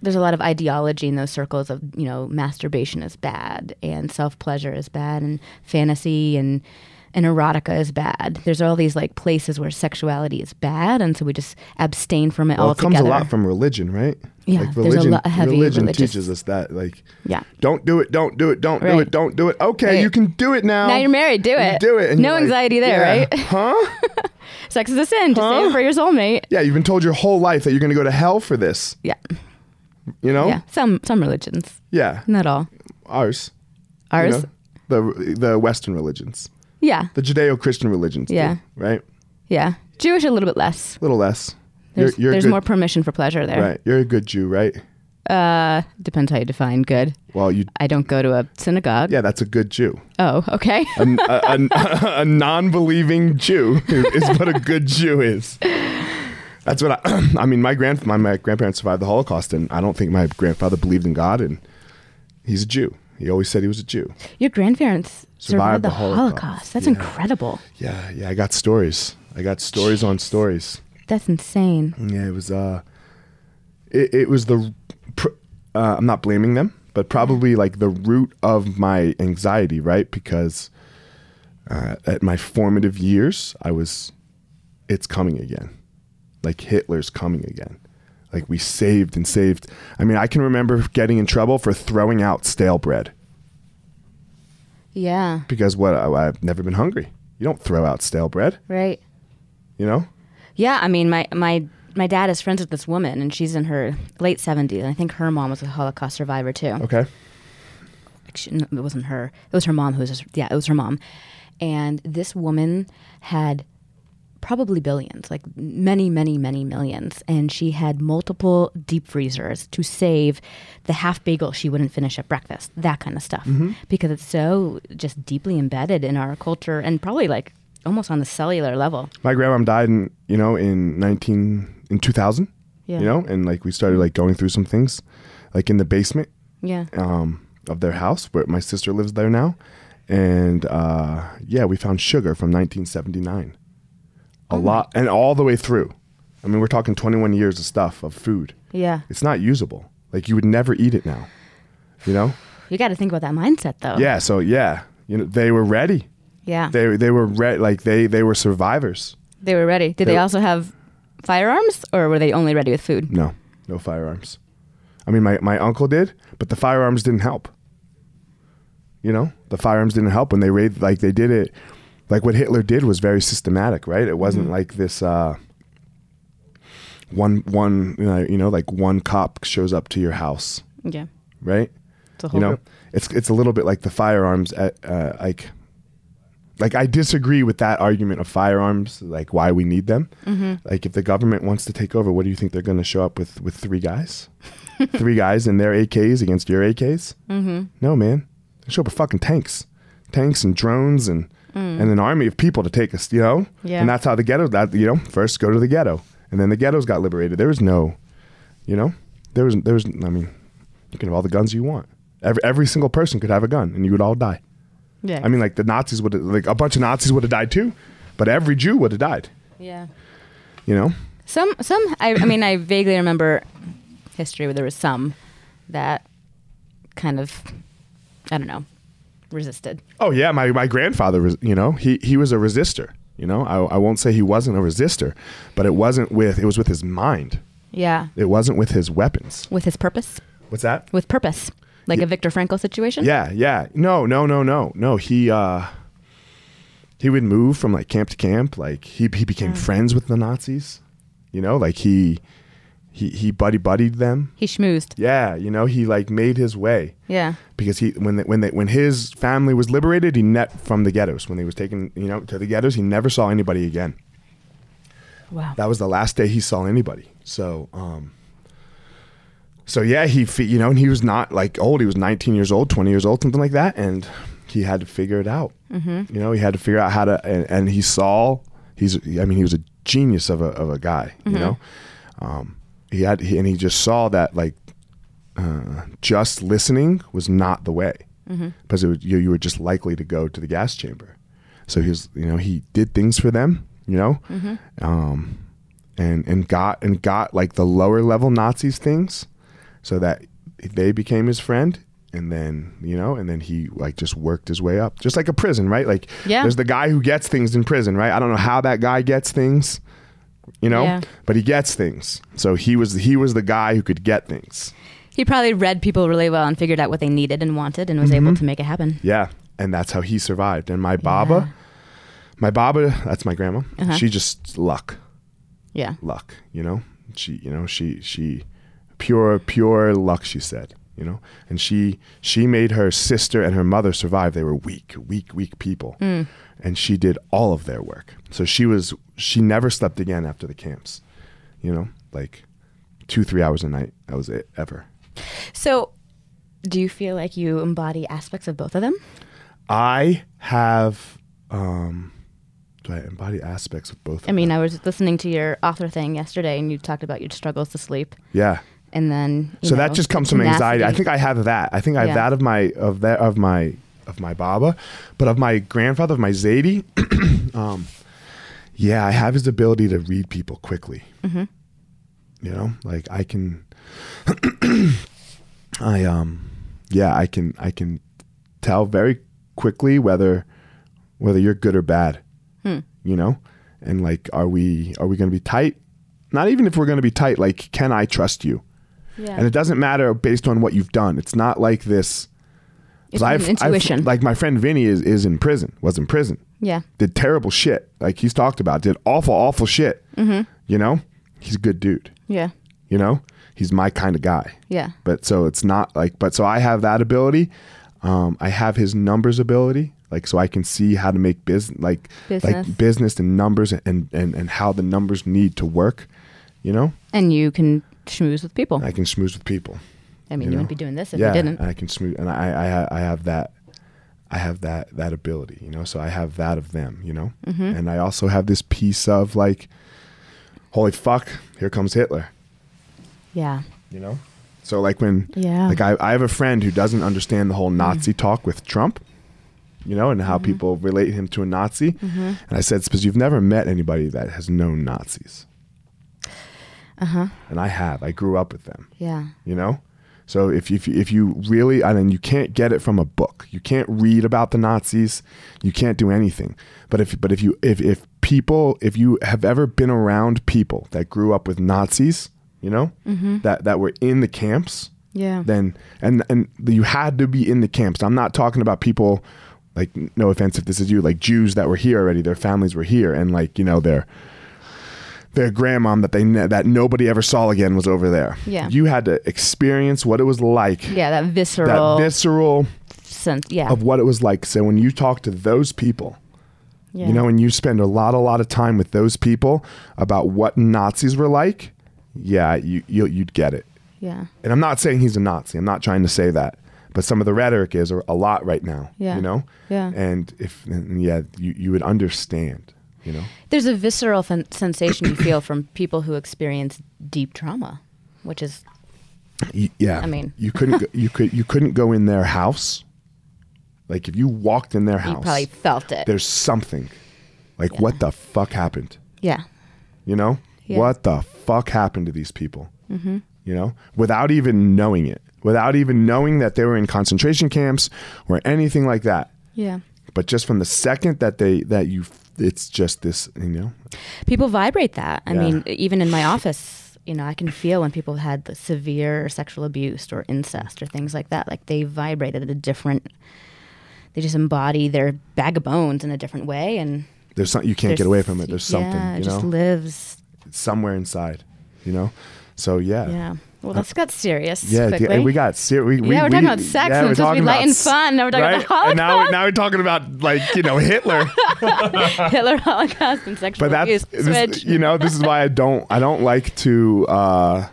Speaker 2: there's a lot of ideology in those circles of you know masturbation is bad and self-pleasure is bad and fantasy and and erotica is bad there's all these like places where sexuality is bad and so we just abstain from it
Speaker 1: Well, it
Speaker 2: altogether
Speaker 1: comes a lot from religion, right?
Speaker 2: Yeah,
Speaker 1: like
Speaker 2: there's a
Speaker 1: religion.
Speaker 2: lot- a heavy
Speaker 1: religion
Speaker 2: religious-
Speaker 1: teaches us that, like,
Speaker 2: Yeah.
Speaker 1: don't do it, don't do it, don't do
Speaker 2: Right.
Speaker 1: it, don't do it. Okay,
Speaker 2: Right.
Speaker 1: you can do it now.
Speaker 2: now you're married do
Speaker 1: You
Speaker 2: it
Speaker 1: do it. And
Speaker 2: no
Speaker 1: you're like,
Speaker 2: anxiety there
Speaker 1: yeah,
Speaker 2: right
Speaker 1: Huh?
Speaker 2: sex is a sin just say
Speaker 1: Huh?
Speaker 2: it for your soulmate
Speaker 1: Yeah, you've been told your whole life that you're going to go to hell for this.
Speaker 2: yeah
Speaker 1: You know?
Speaker 2: yeah some some religions
Speaker 1: Yeah.
Speaker 2: not all
Speaker 1: Ours. you
Speaker 2: ours
Speaker 1: know? The the Western religions,
Speaker 2: yeah
Speaker 1: the Judeo-Christian religions. do,
Speaker 2: Yeah.
Speaker 1: right.
Speaker 2: Yeah, Jewish a little bit less.
Speaker 1: A little less.
Speaker 2: There's,
Speaker 1: you're you're a
Speaker 2: there's
Speaker 1: good,
Speaker 2: more permission for pleasure there.
Speaker 1: Right. You're a good Jew, right?
Speaker 2: Uh, depends how you define good.
Speaker 1: Well, you.
Speaker 2: I don't go to a synagogue.
Speaker 1: Yeah, Um, that's a good Jew.
Speaker 2: Oh, okay.
Speaker 1: An- a, a, a non-believing Jew is what a good Jew is. That's what I. I mean, my grand my, my grandparents survived the Holocaust, and I don't think my grandfather believed in God, and he's a Jew. He always said he was a Jew.
Speaker 2: Your grandparents survived,
Speaker 1: Survived
Speaker 2: the
Speaker 1: the
Speaker 2: Holocaust.
Speaker 1: Holocaust.
Speaker 2: That's
Speaker 1: Yeah.
Speaker 2: incredible.
Speaker 1: Yeah, yeah. I got stories. I got stories on stories.
Speaker 2: That's insane.
Speaker 1: Yeah, it was. Uh, it, it was the. Pr- uh, I'm not blaming them, but probably like the root of my anxiety, right? Because uh, at my formative years, I was, it's coming again, like Hitler's coming again. Like we saved and saved. I mean, I can remember getting in trouble for throwing out stale bread
Speaker 2: Yeah.
Speaker 1: because what I, I've never been hungry. You don't throw out stale bread,
Speaker 2: Right.
Speaker 1: you know?
Speaker 2: Yeah, I mean, my my my dad is friends with this woman, and she's in her late seventies. I think her mom was a Holocaust survivor too.
Speaker 1: Okay.
Speaker 2: She- no, it wasn't her. It was her mom who was. just- yeah, it was her mom. And this woman had probably billions, like many, many, many millions, and she had multiple deep freezers to save the half bagel she wouldn't finish at breakfast, that kind of stuff,
Speaker 1: Mm-hmm.
Speaker 2: because it's so just deeply embedded in our culture and probably like almost on the cellular level.
Speaker 1: my grandmom died in you know in 19 in 2000
Speaker 2: Yeah.
Speaker 1: you know and like we started like going through some things like in the basement
Speaker 2: Yeah.
Speaker 1: um, of their house where my sister lives there now and uh, yeah we found sugar from 1979 a lot and all the way through i mean we're talking 21 years of stuff of food
Speaker 2: Yeah.
Speaker 1: it's not usable like you would never eat it now you know
Speaker 2: You got to think about that mindset, though.
Speaker 1: yeah so yeah you know they were ready
Speaker 2: Yeah. They,
Speaker 1: they, they were re- like they they were survivors
Speaker 2: were ready. Did they,
Speaker 1: They-
Speaker 2: also have firearms or were they only ready with food?
Speaker 1: No, no firearms. I mean, my, my uncle did, but the firearms didn't help. You know, the firearms didn't help when they raid. Like they did it, like what Hitler did was very systematic, right? It wasn't like this uh, one one you know, you know like one cop shows up to your house,
Speaker 2: Yeah.
Speaker 1: right?
Speaker 2: It's a
Speaker 1: you know, it's it's a little bit like the firearms at uh, like. Like I disagree with that argument of firearms, like why we need them. Like if the government wants to take over, what do you think they're going to show up with? With three guys, three guys and their AKs against your AKs? Mm-hmm. No, man, they show up with fucking tanks, tanks and drones and and an army of people to take us. You know,
Speaker 2: Yeah.
Speaker 1: and that's how the ghetto. That you know, first go to the ghetto, and then the ghettos got liberated. There was no, you know, there was there was. I mean, you can have all the guns you want. Every every single person could have a gun, and you would all die.
Speaker 2: Yeah.
Speaker 1: I mean, like the Nazis would like a bunch of Nazis would have died too, but every Jew would have died.
Speaker 2: yeah.
Speaker 1: You know,
Speaker 2: Some, some, I, I mean, I vaguely remember history where there was some that kind of, I don't know, resisted.
Speaker 1: Oh yeah, my, my grandfather was you know he he was a resistor. You know, I, I won't say he wasn't a resistor, but it wasn't with it was with his mind.
Speaker 2: Yeah.
Speaker 1: It wasn't with his weapons.
Speaker 2: With his purpose,
Speaker 1: What's that?
Speaker 2: with purpose, like a Viktor Frankl situation.
Speaker 1: Yeah, yeah. No, no, no, no, no. He uh, he would move from like camp to camp. Like he he became friends with the Nazis. You know, like he he he buddy buddied them.
Speaker 2: He schmoozed.
Speaker 1: Yeah, you know, he like made his way.
Speaker 2: Yeah.
Speaker 1: because he when they, when they, when his family was liberated, he net from the ghettos. When they was taken, you know, to the ghettos, he never saw anybody again.
Speaker 2: Wow.
Speaker 1: That was the last day he saw anybody. So, um, so yeah, he fi- you know, and he was not like old. He was 19 years old, 20 years old, something like that, and he had to figure it out. Mm-hmm. You know, he had to figure out how to, and, and he saw. He's, I mean, he was a genius of a of a guy. You know, um, he had, he, and he just saw that like uh, just listening was not the way
Speaker 2: Mm-hmm.
Speaker 1: because it would, you, you were just likely to go to the gas chamber. So he was, you know, he did things for them, you know,
Speaker 2: Mm-hmm.
Speaker 1: um, and and got and got like the lower level Nazis things, so that they became his friend. And then you know, and then he like just worked his way up, just like a prison, right? Like
Speaker 2: Yeah.
Speaker 1: there's the guy who gets things in prison, right? I don't know how that guy gets things, you know,
Speaker 2: Yeah.
Speaker 1: but he gets things. So he was he was the guy who could get things.
Speaker 2: He probably read people really well and figured out what they needed and wanted and was
Speaker 1: Mm-hmm.
Speaker 2: able to make it happen.
Speaker 1: Yeah, and that's how he survived. And my baba, my baba, that's my grandma.
Speaker 2: Uh-huh.
Speaker 1: She just luck,
Speaker 2: Yeah.
Speaker 1: luck. You know, she, you know, she, she, pure, pure luck. She said, you know, and she, she made her sister and her mother survive. They were weak, weak, weak people, and she did all of their work. So she was, she never slept again after the camps. You know, like two, three hours a night. That was it ever.
Speaker 2: So, do you feel like you embody aspects of both of them?
Speaker 1: I have. um do I embody aspects of both?
Speaker 2: I mean, I was listening to your author thing yesterday, and you talked about your struggles to sleep,
Speaker 1: Yeah.
Speaker 2: and then you
Speaker 1: So
Speaker 2: know,
Speaker 1: that just comes from anxiety. I
Speaker 2: tenacity.
Speaker 1: think I have that. I think I have
Speaker 2: Yeah.
Speaker 1: that of my of that of my of my Baba, but of my grandfather, of my Zadie. um, yeah, I have his ability to read people quickly.
Speaker 2: Mm-hmm.
Speaker 1: You know, like I can, I um, yeah, I can I can tell very quickly whether whether you're good or bad.
Speaker 2: Hmm.
Speaker 1: You know, and like, are we are we going to be tight? Not even if we're going to be tight. Like, can I trust you?
Speaker 2: Yeah.
Speaker 1: And it doesn't matter based on what you've done. It's not like this. 'cause
Speaker 2: It's an intuition.
Speaker 1: like my friend Vinny is is in prison. Was in prison
Speaker 2: yeah.
Speaker 1: did terrible shit. Like he's talked about, did awful, awful shit. Mm-hmm. You know, he's a good dude.
Speaker 2: Yeah.
Speaker 1: You know, he's my kind of guy.
Speaker 2: Yeah.
Speaker 1: But so it's not like, but so I have that ability. Um, I have his numbers ability. Like so, I can see how to make business, like
Speaker 2: Business.
Speaker 1: like business and numbers, and and and how the numbers need to work. You know,
Speaker 2: And you can schmooze with people.
Speaker 1: I can schmooze with people.
Speaker 2: I mean, you,
Speaker 1: you know?
Speaker 2: wouldn't be doing this if
Speaker 1: yeah, Uh,
Speaker 2: you didn't.
Speaker 1: and I can smooth, and I I ha- I have that, I have that that ability, you know. So I have that of them, you know.
Speaker 2: Mm-hmm.
Speaker 1: And I also have this piece of like, holy fuck, here comes Hitler,
Speaker 2: yeah.
Speaker 1: you know. So like when
Speaker 2: Yeah. Mm.
Speaker 1: like I I have a friend who doesn't understand the whole Nazi talk with Trump. You know, and how
Speaker 2: Mm-hmm.
Speaker 1: people relate him to a Nazi. And I said, it's because you've never met anybody that has known Nazis.
Speaker 2: Uh-huh.
Speaker 1: Uh huh. And I have. I grew up with them
Speaker 2: Yeah.
Speaker 1: you know so if, if, if you really and then you can't get it from a book you can't read about the nazis you can't do anything but if but if you if, if people if you have ever been around people that grew up with nazis you know that that were in the camps
Speaker 2: Yeah.
Speaker 1: then and and you had to be in the camps i'm not talking about people like no offense if this is you like jews that were here already their families were here and like you know their their grandmom that they ne- that nobody ever saw again was over there
Speaker 2: Yeah.
Speaker 1: you had to experience what it was like
Speaker 2: yeah. That
Speaker 1: that
Speaker 2: visceral
Speaker 1: visceral
Speaker 2: sense. Yeah.
Speaker 1: of what it was like so when you talk to those people
Speaker 2: yeah.
Speaker 1: you know, and you spend a lot, a lot of time with those people about what Nazis were like. Yeah, you, you you'd get it
Speaker 2: yeah.
Speaker 1: and I'm not saying he's a Nazi. I'm not trying to say that. But some of the rhetoric is a lot right now.
Speaker 2: Yeah.
Speaker 1: You know.
Speaker 2: Yeah.
Speaker 1: And if and yeah, you you would understand. You know.
Speaker 2: There's a visceral fen- sensation you feel from people who experience deep trauma, which is
Speaker 1: Y- yeah.
Speaker 2: I mean-
Speaker 1: you couldn't go, you could you couldn't go in their house. Like if you walked in their
Speaker 2: you
Speaker 1: house,
Speaker 2: probably felt it.
Speaker 1: there's something. Like what the fuck happened?
Speaker 2: Yeah.
Speaker 1: You know.
Speaker 2: Yeah.
Speaker 1: What the fuck happened to these people? Mm-hmm. You know, without even knowing it, without even knowing that they were in concentration camps or anything like that.
Speaker 2: Yeah.
Speaker 1: but just from the second that they that you it's just this you know
Speaker 2: People vibrate that. I
Speaker 1: Yeah.
Speaker 2: mean, even in my office, you know, I can feel when people had the severe sexual abuse or incest or things like that. Like they vibrated at a different. They just embody their bag of bones in a different way, and
Speaker 1: there's something you can't get
Speaker 2: there's-
Speaker 1: away from it there's something
Speaker 2: Yeah, it
Speaker 1: you know
Speaker 2: just lives.
Speaker 1: it's somewhere inside you know so yeah
Speaker 2: Yeah. Well, that's got serious.
Speaker 1: Uh, Yeah,
Speaker 2: quickly.
Speaker 1: and we got ser- we, we,
Speaker 2: we're talking
Speaker 1: we-
Speaker 2: about sex, and
Speaker 1: Yeah,
Speaker 2: it's
Speaker 1: we're
Speaker 2: supposed to
Speaker 1: talking
Speaker 2: be light
Speaker 1: about
Speaker 2: and
Speaker 1: s-
Speaker 2: fun, now we're talking about
Speaker 1: right? And now, now we're talking about like you know Hitler.
Speaker 2: Hitler Holocaust and sexual
Speaker 1: But that's this,
Speaker 2: abuse. Switch.
Speaker 1: you know this is why I don't I don't like to uh,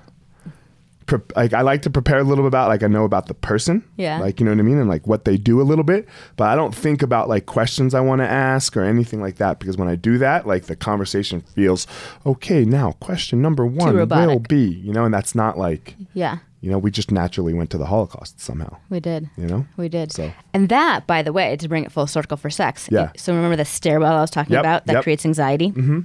Speaker 1: pre- like I like to prepare a little bit about like I know about the person.
Speaker 2: Yeah.
Speaker 1: Like you know what I mean and like what they do a little bit, but I don't think about like questions I want to ask or anything like that because when I do that, like the conversation feels okay. Now question number one will
Speaker 2: robotic.
Speaker 1: be you know, and that's not like
Speaker 2: yeah,
Speaker 1: you know we just naturally went to the Holocaust somehow.
Speaker 2: we did.
Speaker 1: You know.
Speaker 2: We did.
Speaker 1: So.
Speaker 2: And that, by the way, to bring it full circle for sex.
Speaker 1: Yeah.
Speaker 2: So remember the stairwell I was talking
Speaker 1: Yep,
Speaker 2: about that
Speaker 1: yep.
Speaker 2: creates anxiety? Mm-hmm.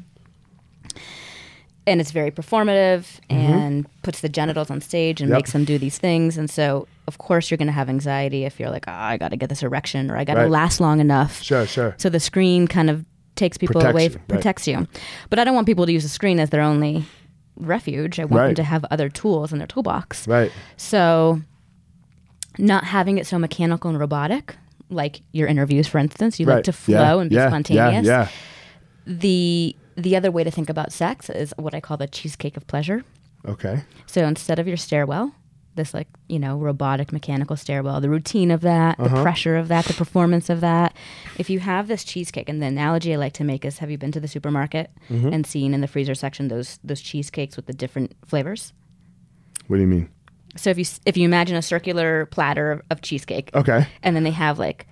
Speaker 2: And it's very performative and puts the genitals on stage and
Speaker 1: Mm-hmm. Yep.
Speaker 2: makes them do these things. And so, of course, you're going to have anxiety if you're like, oh, I got to get this erection or I got to
Speaker 1: Right.
Speaker 2: last long enough.
Speaker 1: Sure, sure.
Speaker 2: So the screen kind of takes people
Speaker 1: Protects
Speaker 2: away,
Speaker 1: you, right.
Speaker 2: protects you. But I don't want people to use the screen as their only refuge. I want them
Speaker 1: Right.
Speaker 2: to have other tools in their toolbox.
Speaker 1: Right.
Speaker 2: So, not having it so mechanical and robotic, like your interviews, for instance, you like
Speaker 1: right.
Speaker 2: to flow
Speaker 1: yeah,
Speaker 2: and be
Speaker 1: yeah,
Speaker 2: spontaneous.
Speaker 1: Yeah. yeah.
Speaker 2: The the other way to think about sex is what I call the cheesecake of pleasure.
Speaker 1: Okay.
Speaker 2: So instead of your stairwell, this like you know robotic mechanical stairwell, the routine of that,
Speaker 1: Uh-huh.
Speaker 2: the pressure of that, the performance of that. If you have this cheesecake, and the analogy I like to make is, have you been to the supermarket
Speaker 1: Mm-hmm.
Speaker 2: and seen in the freezer section those those cheesecakes with the different flavors?
Speaker 1: What do you mean?
Speaker 2: So if you s- if you imagine a circular platter of, of cheesecake,
Speaker 1: Okay.
Speaker 2: and then they have like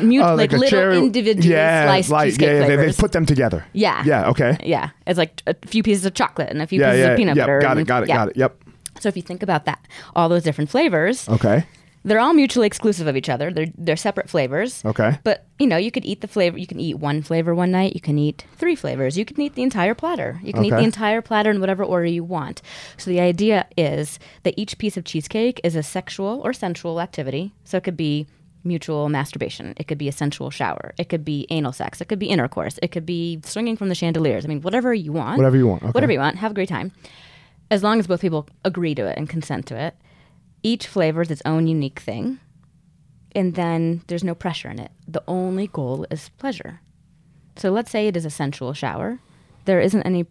Speaker 2: mute,
Speaker 1: Oh,
Speaker 2: like,
Speaker 1: a
Speaker 2: little
Speaker 1: cherry-
Speaker 2: individual sliced
Speaker 1: like-
Speaker 2: cheesecake
Speaker 1: yeah, yeah, they-
Speaker 2: flavors.
Speaker 1: They, put them together.
Speaker 2: Yeah.
Speaker 1: Yeah. Okay.
Speaker 2: yeah, it's like a few pieces of chocolate and a few
Speaker 1: Yeah.
Speaker 2: pieces
Speaker 1: yeah.
Speaker 2: of peanut
Speaker 1: yep,
Speaker 2: butter.
Speaker 1: Got it.
Speaker 2: and-
Speaker 1: Got it.
Speaker 2: yeah.
Speaker 1: Got it. Yep.
Speaker 2: So if you think about that, all those different flavors,
Speaker 1: Okay.
Speaker 2: They're all mutually exclusive of each other. They're they're separate flavors.
Speaker 1: Okay.
Speaker 2: But you know, you could eat the flavor. You can eat one flavor one night. You can eat three flavors. You can eat the entire platter. You can eat
Speaker 1: Okay.
Speaker 2: the entire platter in whatever order you want. So the idea is that each piece of cheesecake is a sexual or sensual activity. So it could be mutual masturbation. It could be a sensual shower. It could be anal sex. It could be intercourse. It could be swinging from the chandeliers. I mean, whatever you want.
Speaker 1: Whatever you want, okay.
Speaker 2: Whatever you want. Have a great time. As long as both people agree to it and consent to it. Each flavor is its own unique thing and then there's no pressure in it. The only goal is pleasure. So let's say it is a sensual shower. There isn't any,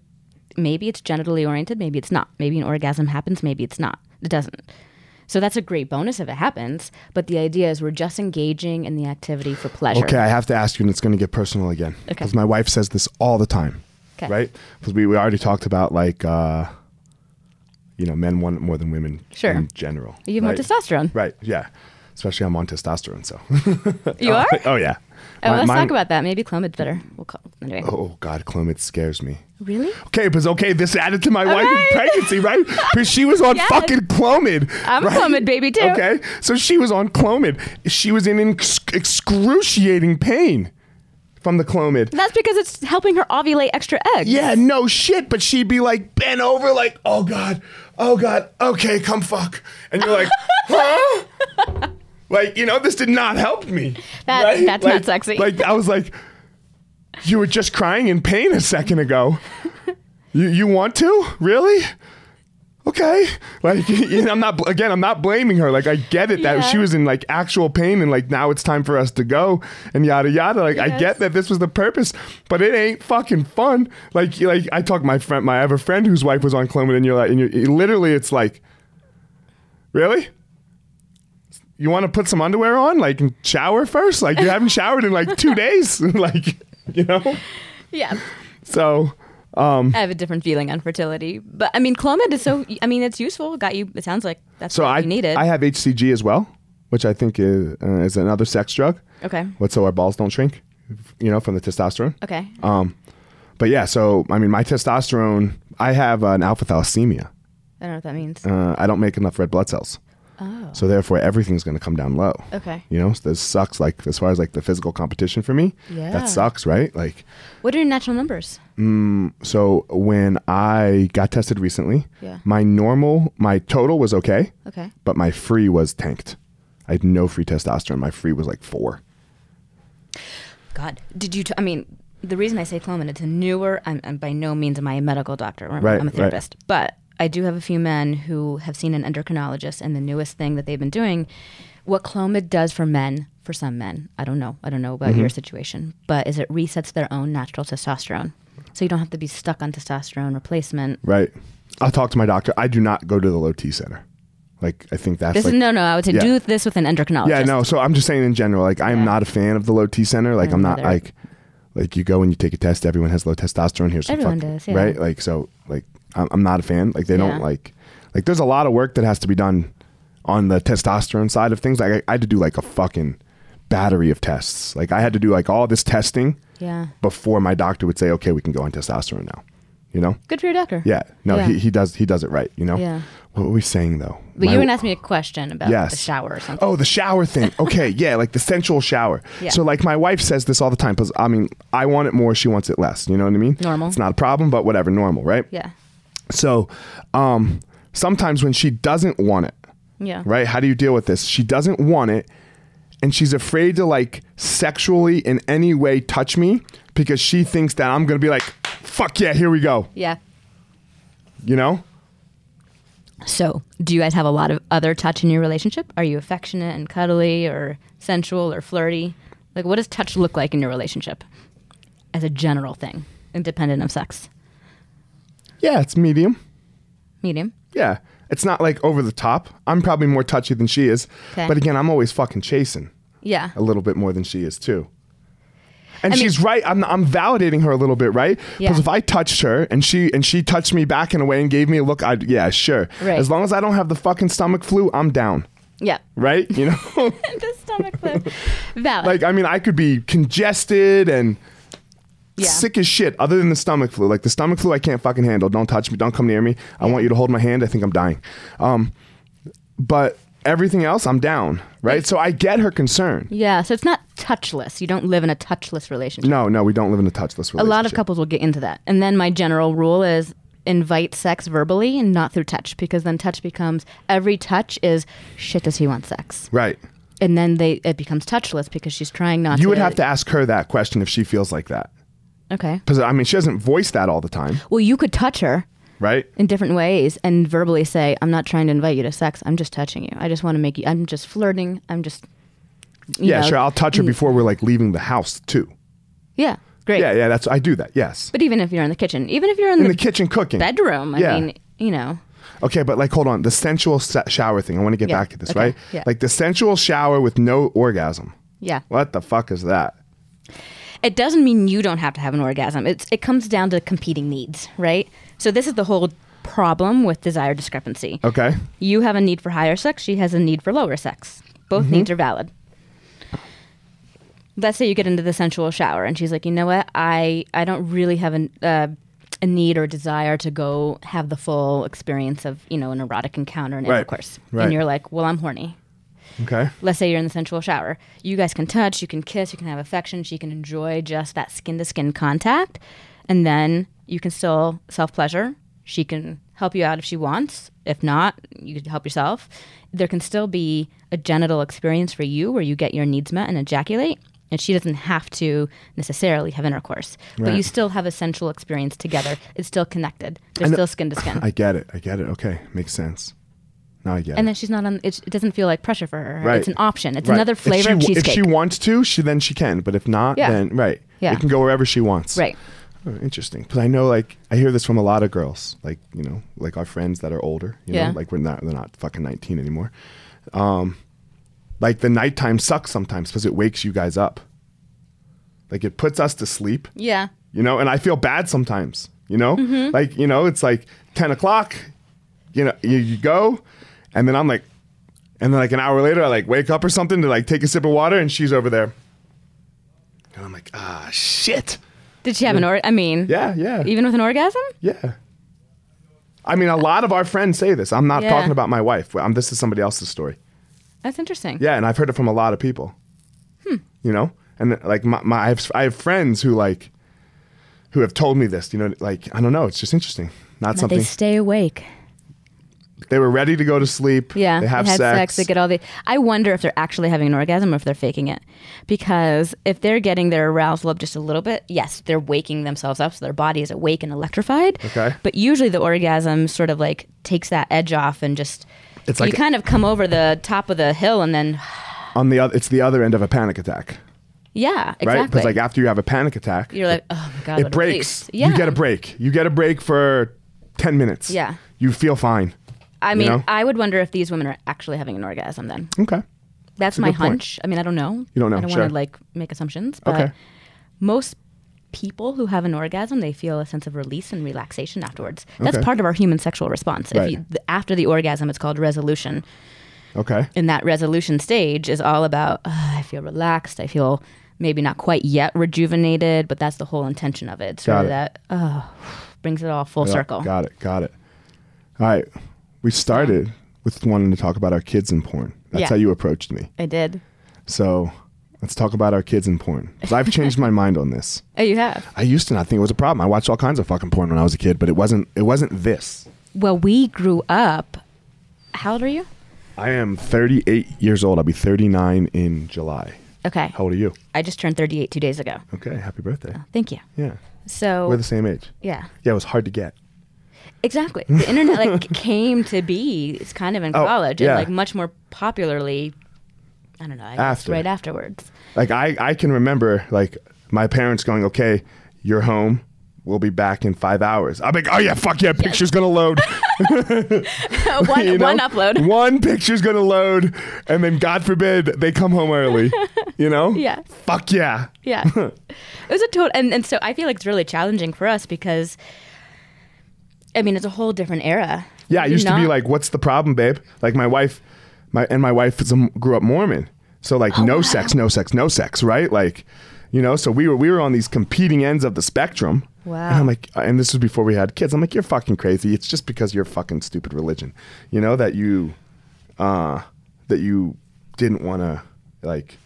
Speaker 2: maybe it's genitally oriented, maybe it's not. Maybe an orgasm happens, maybe it's not. It doesn't. So that's a great bonus if it happens, but the idea is we're just engaging in the activity for pleasure.
Speaker 1: Okay, I have to ask you, and it's going to get personal again.
Speaker 2: Okay.
Speaker 1: Because my wife says this all the time.
Speaker 2: 'Kay.
Speaker 1: Right? Because we, we already talked about, like, uh, you know, men want it more than women
Speaker 2: Sure.
Speaker 1: in general.
Speaker 2: You have more
Speaker 1: right?
Speaker 2: testosterone.
Speaker 1: Right, yeah. Especially I'm on testosterone, so.
Speaker 2: You are?
Speaker 1: oh, yeah.
Speaker 2: Oh,
Speaker 1: My-
Speaker 2: let's
Speaker 1: mine-
Speaker 2: talk about that. Maybe Clomid's better. We'll call anyway.
Speaker 1: Oh, God, Clomid scares me.
Speaker 2: Really?
Speaker 1: Okay, but it's okay, this added to my wife
Speaker 2: right.
Speaker 1: in pregnancy, right? Because she was on
Speaker 2: Yes.
Speaker 1: fucking Clomid.
Speaker 2: I'm a
Speaker 1: right?
Speaker 2: Clomid baby, too.
Speaker 1: Okay, so she was on Clomid. She was in ex- excruciating pain from the Clomid.
Speaker 2: That's because it's helping her ovulate extra eggs.
Speaker 1: Yeah, no shit. But she'd be like bent over, like, oh god, oh god, okay, come fuck. And you're like, huh? Like, you know, this did not help me.
Speaker 2: That- that's not
Speaker 1: like,
Speaker 2: sexy.
Speaker 1: Like, I was like, you were just crying in pain a second ago. You you want to really? Okay, like you know, I'm not bl- again. I'm not blaming her. Like I get it that
Speaker 2: Yeah.
Speaker 1: she was in like actual pain and like now it's time for us to go and yada yada. Like I
Speaker 2: Yes.
Speaker 1: get that this was the purpose, but it ain't fucking fun. Like like I talk my friend, my I have a friend whose wife was on Clomid and you're like, and you're, it- literally it's like, really. You want to put some underwear on, like and shower first. Like you haven't showered in like two days, like you know.
Speaker 2: Yeah.
Speaker 1: So
Speaker 2: I have a different feeling on fertility, but I mean, Clomid is so. I mean, it's useful. Got you. It sounds like that's
Speaker 1: So
Speaker 2: what
Speaker 1: I
Speaker 2: you needed.
Speaker 1: I have HCG as well, which I think is, uh, is another sex drug.
Speaker 2: okay.
Speaker 1: What so our balls don't shrink, you know, from the testosterone.
Speaker 2: Okay.
Speaker 1: Um, but yeah, so I mean, my testosterone, I have an alpha thalassemia.
Speaker 2: I don't know what that means.
Speaker 1: Uh, I don't make enough red blood cells,
Speaker 2: oh.
Speaker 1: so therefore everything's going to come down low.
Speaker 2: Okay.
Speaker 1: You know, so this sucks. Like as far as like the physical competition for me,
Speaker 2: Yeah.
Speaker 1: that sucks, right? Like,
Speaker 2: What are your natural numbers?
Speaker 1: so when I got tested recently,
Speaker 2: Yeah.
Speaker 1: my normal, my total was okay.
Speaker 2: Okay.
Speaker 1: but my free was tanked. I had no free testosterone. My free was like four.
Speaker 2: God, did you? T- I mean, the reason I say Clomid, it's a newer. I'm, I'm by no means am I a medical doctor. Remember,
Speaker 1: Right,
Speaker 2: I'm a
Speaker 1: right.
Speaker 2: therapist, but I do have a few men who have seen an endocrinologist, and the newest thing that they've been doing, what Clomid does for men, for some men, I don't know. I don't know about your
Speaker 1: Mm-hmm.
Speaker 2: situation, but is it resets their own natural testosterone, so you don't have to be stuck on testosterone replacement.
Speaker 1: Right. I'll talk to my doctor. I do not go to the low T center. Like I think that's
Speaker 2: This
Speaker 1: like,
Speaker 2: is no, no. I would say
Speaker 1: yeah.
Speaker 2: do this with an endocrinologist.
Speaker 1: yeah no. So I'm just saying in general. Like I am not a fan of the low T center. Like
Speaker 2: I'm
Speaker 1: I'm not
Speaker 2: neither.
Speaker 1: like like you go and you take a test. Everyone has low testosterone. Here's some
Speaker 2: Everyone
Speaker 1: fuck-
Speaker 2: does, yeah.
Speaker 1: Right. Like so. Like I'm, I'm not a fan. Like they
Speaker 2: Yeah.
Speaker 1: don't like like there's a lot of work that has to be done on the testosterone side of things. Like I, I had to do like a fucking battery of tests. Like I had to do like all this testing.
Speaker 2: Yeah.
Speaker 1: before my doctor would say, okay, we can go on testosterone now. You know?
Speaker 2: Good for your doctor.
Speaker 1: Yeah. No,
Speaker 2: Yeah.
Speaker 1: He, he does he does it right. You know?
Speaker 2: Yeah.
Speaker 1: What were we saying though?
Speaker 2: But
Speaker 1: My-
Speaker 2: you were gonna ask me a question about
Speaker 1: Yes.
Speaker 2: the shower or something.
Speaker 1: Oh, the shower thing. Okay, yeah, like the sensual shower.
Speaker 2: Yeah.
Speaker 1: So, like my wife says this all the time. Because I mean, I want it more. She wants it less. You know what I mean?
Speaker 2: Normal.
Speaker 1: It's not a problem, but whatever. Normal, right?
Speaker 2: Yeah.
Speaker 1: So, um, sometimes when she doesn't want it,
Speaker 2: Yeah.
Speaker 1: right? How do you deal with this? She doesn't want it, and she's afraid to like sexually in any way touch me because she thinks that I'm gonna be like, "Fuck yeah, here we go,"
Speaker 2: Yeah.
Speaker 1: you know?
Speaker 2: So, do you guys have a lot of other touch in your relationship? Are you affectionate and cuddly or sensual or flirty? Like, what does touch look like in your relationship as a general thing, independent of sex?
Speaker 1: Yeah, it's medium.
Speaker 2: Medium?
Speaker 1: Yeah, it's not like over the top. I'm probably more touchy than she is,
Speaker 2: 'Kay.
Speaker 1: but again, I'm always fucking chasing
Speaker 2: Yeah.
Speaker 1: a little bit more than she is too. And
Speaker 2: I mean-
Speaker 1: she's right. I'm, I'm validating her a little bit, right? Because
Speaker 2: Yeah.
Speaker 1: if I touched her and she and she touched me back in a way and gave me a look, I'd yeah, sure.
Speaker 2: Right.
Speaker 1: As long as I don't have the fucking stomach flu, I'm down,
Speaker 2: Yeah.
Speaker 1: right? You know.
Speaker 2: the stomach flip. Valid.
Speaker 1: like I mean, I could be congested and
Speaker 2: yeah.
Speaker 1: sick as shit. Other than the stomach flu, like the stomach flu, I can't fucking handle. Don't touch me. Don't come near me. I want you to hold my hand. I think I'm dying. Um, but everything else, I'm down. Right. So I get her concern.
Speaker 2: Yeah, so it's not touchless. You don't live in a touchless relationship.
Speaker 1: No, no, we don't live in a touchless relationship.
Speaker 2: A lot of couples will get into that. And then my general rule is invite sex verbally and not through touch because then touch becomes every touch is shit does he want sex.
Speaker 1: Right.
Speaker 2: And then they it becomes touchless because she's trying not to
Speaker 1: You would have to ask her that question if she feels like that.
Speaker 2: Okay.
Speaker 1: Because I mean, she doesn't voice that all the time,
Speaker 2: Well, you could touch her
Speaker 1: right?
Speaker 2: in different ways and verbally say, "I'm not trying to invite you to sex. I'm just touching you. I just want to make you I'm just flirting. I'm just you
Speaker 1: yeah,
Speaker 2: know,
Speaker 1: sure. I'll touch her before we're like leaving the house too.
Speaker 2: Yeah. Great.
Speaker 1: Yeah, yeah. That's I do that. Yes.
Speaker 2: But even if you're in the kitchen, even if you're in,
Speaker 1: in
Speaker 2: the,
Speaker 1: the kitchen cooking.
Speaker 2: bedroom, I
Speaker 1: Yeah.
Speaker 2: mean, you know.
Speaker 1: Okay, but like, hold on. The sensual se- shower thing. I want to get
Speaker 2: Yeah,
Speaker 1: back to this,
Speaker 2: okay,
Speaker 1: right?
Speaker 2: yeah.
Speaker 1: Like the sensual shower with no orgasm.
Speaker 2: Yeah.
Speaker 1: What the fuck is that?
Speaker 2: it doesn't mean you don't have to have an orgasm. It's it comes down to competing needs, right? So this is the whole problem with desire discrepancy.
Speaker 1: Okay.
Speaker 2: You have a need for higher sex, she has a need for lower sex.
Speaker 1: Mm-hmm.
Speaker 2: Both needs are valid. Let's say you get into the sensual shower and she's like, "You know what? I I don't really have an uh, a need or desire to go have the full experience of, you know, an erotic encounter and
Speaker 1: Right.
Speaker 2: intercourse."
Speaker 1: Right.
Speaker 2: And you're like, "Well, I'm horny."
Speaker 1: Okay.
Speaker 2: let's say you're in the sensual shower. You guys can touch, you can kiss, you can have affection, she can enjoy just that skin to skin contact. And then you can still self pleasure. She can help you out if she wants. If not, you can help yourself. There can still be a genital experience for you where you get your needs met and ejaculate. And she doesn't have to necessarily have intercourse, but you still have a sensual experience together. It's still connected. They're still skin to skin.
Speaker 1: I get it. I get it. Okay, makes sense. Now I get
Speaker 2: And
Speaker 1: it.
Speaker 2: then she's not on. It, it doesn't feel like pressure for her.
Speaker 1: Right.
Speaker 2: It's an option. It's
Speaker 1: Right.
Speaker 2: another
Speaker 1: If
Speaker 2: flavor
Speaker 1: she
Speaker 2: of
Speaker 1: w-
Speaker 2: cheesecake.
Speaker 1: If she wants to, she then she can. But if not,
Speaker 2: Yeah.
Speaker 1: then right.
Speaker 2: Yeah.
Speaker 1: It can go wherever she wants.
Speaker 2: right.
Speaker 1: Oh, interesting. Because I know, like, I hear this from a lot of girls, like, you know, like our friends that are older, you
Speaker 2: Yeah.
Speaker 1: know, like we're not, they're not fucking 19 anymore. Um, like the nighttime sucks sometimes because it wakes you guys up. Like it puts us to sleep,
Speaker 2: Yeah.
Speaker 1: you know, and I feel bad sometimes, you know, like, you know, it's like 10 o'clock, you know, you, you go and then I'm like, and then like an hour later, I like wake up or something to like take a sip of water and she's over there. And I'm like, ah, shit.
Speaker 2: Did she have an or? I mean,
Speaker 1: Yeah, yeah.
Speaker 2: even with an orgasm?
Speaker 1: Yeah. I mean, a lot of our friends say this. I'm not
Speaker 2: Yeah.
Speaker 1: talking about my wife. I'm, this is somebody else's story.
Speaker 2: That's interesting.
Speaker 1: Yeah, and I've heard it from a lot of people.
Speaker 2: Hmm.
Speaker 1: You know, and like my, my I, have, I have friends who like, who have told me this. You know, like I don't know. It's just interesting. Not
Speaker 2: But
Speaker 1: something
Speaker 2: they
Speaker 1: they,
Speaker 2: stay awake.
Speaker 1: were ready to go to sleep.
Speaker 2: Yeah.
Speaker 1: they have
Speaker 2: had
Speaker 1: sex.
Speaker 2: They get all the. I wonder if they're actually having an orgasm or if they're faking it, because if they're getting their arousal up just a little bit, yes, they're waking themselves up, so their body is awake and electrified.
Speaker 1: Okay.
Speaker 2: But usually the orgasm sort of like takes that edge off and just.
Speaker 1: It's like-
Speaker 2: you kind of come over the top of the hill and then.
Speaker 1: On the other, it's the other end of a panic attack,
Speaker 2: Yeah. Exactly.
Speaker 1: right? Because like after you have a panic attack,
Speaker 2: You're like, oh my god.
Speaker 1: it
Speaker 2: what a
Speaker 1: breaks.
Speaker 2: release." Yeah.
Speaker 1: You get a break. You get a break for ten minutes.
Speaker 2: Yeah.
Speaker 1: you feel fine.
Speaker 2: I mean,
Speaker 1: know?
Speaker 2: I would wonder if these women are actually having an orgasm then.
Speaker 1: Okay.
Speaker 2: That's my
Speaker 1: good point.
Speaker 2: hunch. I mean, I don't know.
Speaker 1: You don't know,
Speaker 2: I don't
Speaker 1: sure.
Speaker 2: want to like make assumptions, but
Speaker 1: Okay.
Speaker 2: most people who have an orgasm, they feel a sense of release and relaxation afterwards. That's
Speaker 1: Okay.
Speaker 2: part of our human sexual response.
Speaker 1: Right.
Speaker 2: If you, th- after the orgasm, it's called resolution,
Speaker 1: Okay.
Speaker 2: and that resolution stage is all about "Ah, I feel relaxed. I feel maybe not quite yet rejuvenated, but that's the whole intention of it. Sort
Speaker 1: Got
Speaker 2: of
Speaker 1: it.
Speaker 2: that oh, brings it all full
Speaker 1: Yep,
Speaker 2: circle.
Speaker 1: Got it. Got it. All right. We started with wanting to talk about our kids and porn. That's
Speaker 2: Yeah.
Speaker 1: how you approached me.
Speaker 2: I did.
Speaker 1: So let's talk about our kids and porn. 'Cause I've changed my mind on this.
Speaker 2: Oh, you have.
Speaker 1: I used to not think it was a problem. I watched all kinds of fucking porn when I was a kid, but it wasn't. It wasn't this.
Speaker 2: Well, we grew up. How old are you?
Speaker 1: I am 38 years old. I'll be 39 in July.
Speaker 2: Okay.
Speaker 1: How old are you?
Speaker 2: I just turned 38 two days ago.
Speaker 1: Okay. Happy birthday.
Speaker 2: Thank you.
Speaker 1: Yeah.
Speaker 2: So
Speaker 1: We're the same age.
Speaker 2: yeah,
Speaker 1: Yeah. It was hard to get.
Speaker 2: exactly. The internet like came to be. It's kind of in
Speaker 1: Oh,
Speaker 2: college
Speaker 1: yeah.
Speaker 2: and like much more popularly. I don't know. I guess
Speaker 1: After.
Speaker 2: right afterwards.
Speaker 1: Like I, I can remember like my parents going, "Okay, you're home. We'll be back in five hours." I'm like, "Oh yeah, fuck yeah, picture's gonna load."
Speaker 2: one
Speaker 1: you know?
Speaker 2: one upload.
Speaker 1: One picture's gonna load, and then God forbid they come home early. You know?
Speaker 2: Yeah.
Speaker 1: Fuck yeah.
Speaker 2: Yeah, it was a total. And, and so I feel like it's really challenging for us because, I mean, it's a whole different era.
Speaker 1: Yeah, it
Speaker 2: You're
Speaker 1: used to be
Speaker 2: not-
Speaker 1: like, "What's the problem, babe?" Like my wife, my and my wife is a, grew up Mormon, so like
Speaker 2: Oh,
Speaker 1: no sex, no sex, no sex, right? Like, you know, so we were we were on these competing ends of the spectrum.
Speaker 2: Wow.
Speaker 1: And I'm like, and this was before we had kids. I'm like, you're fucking crazy. It's just because you're fucking stupid religion, you know, that you, uh, that you didn't want to like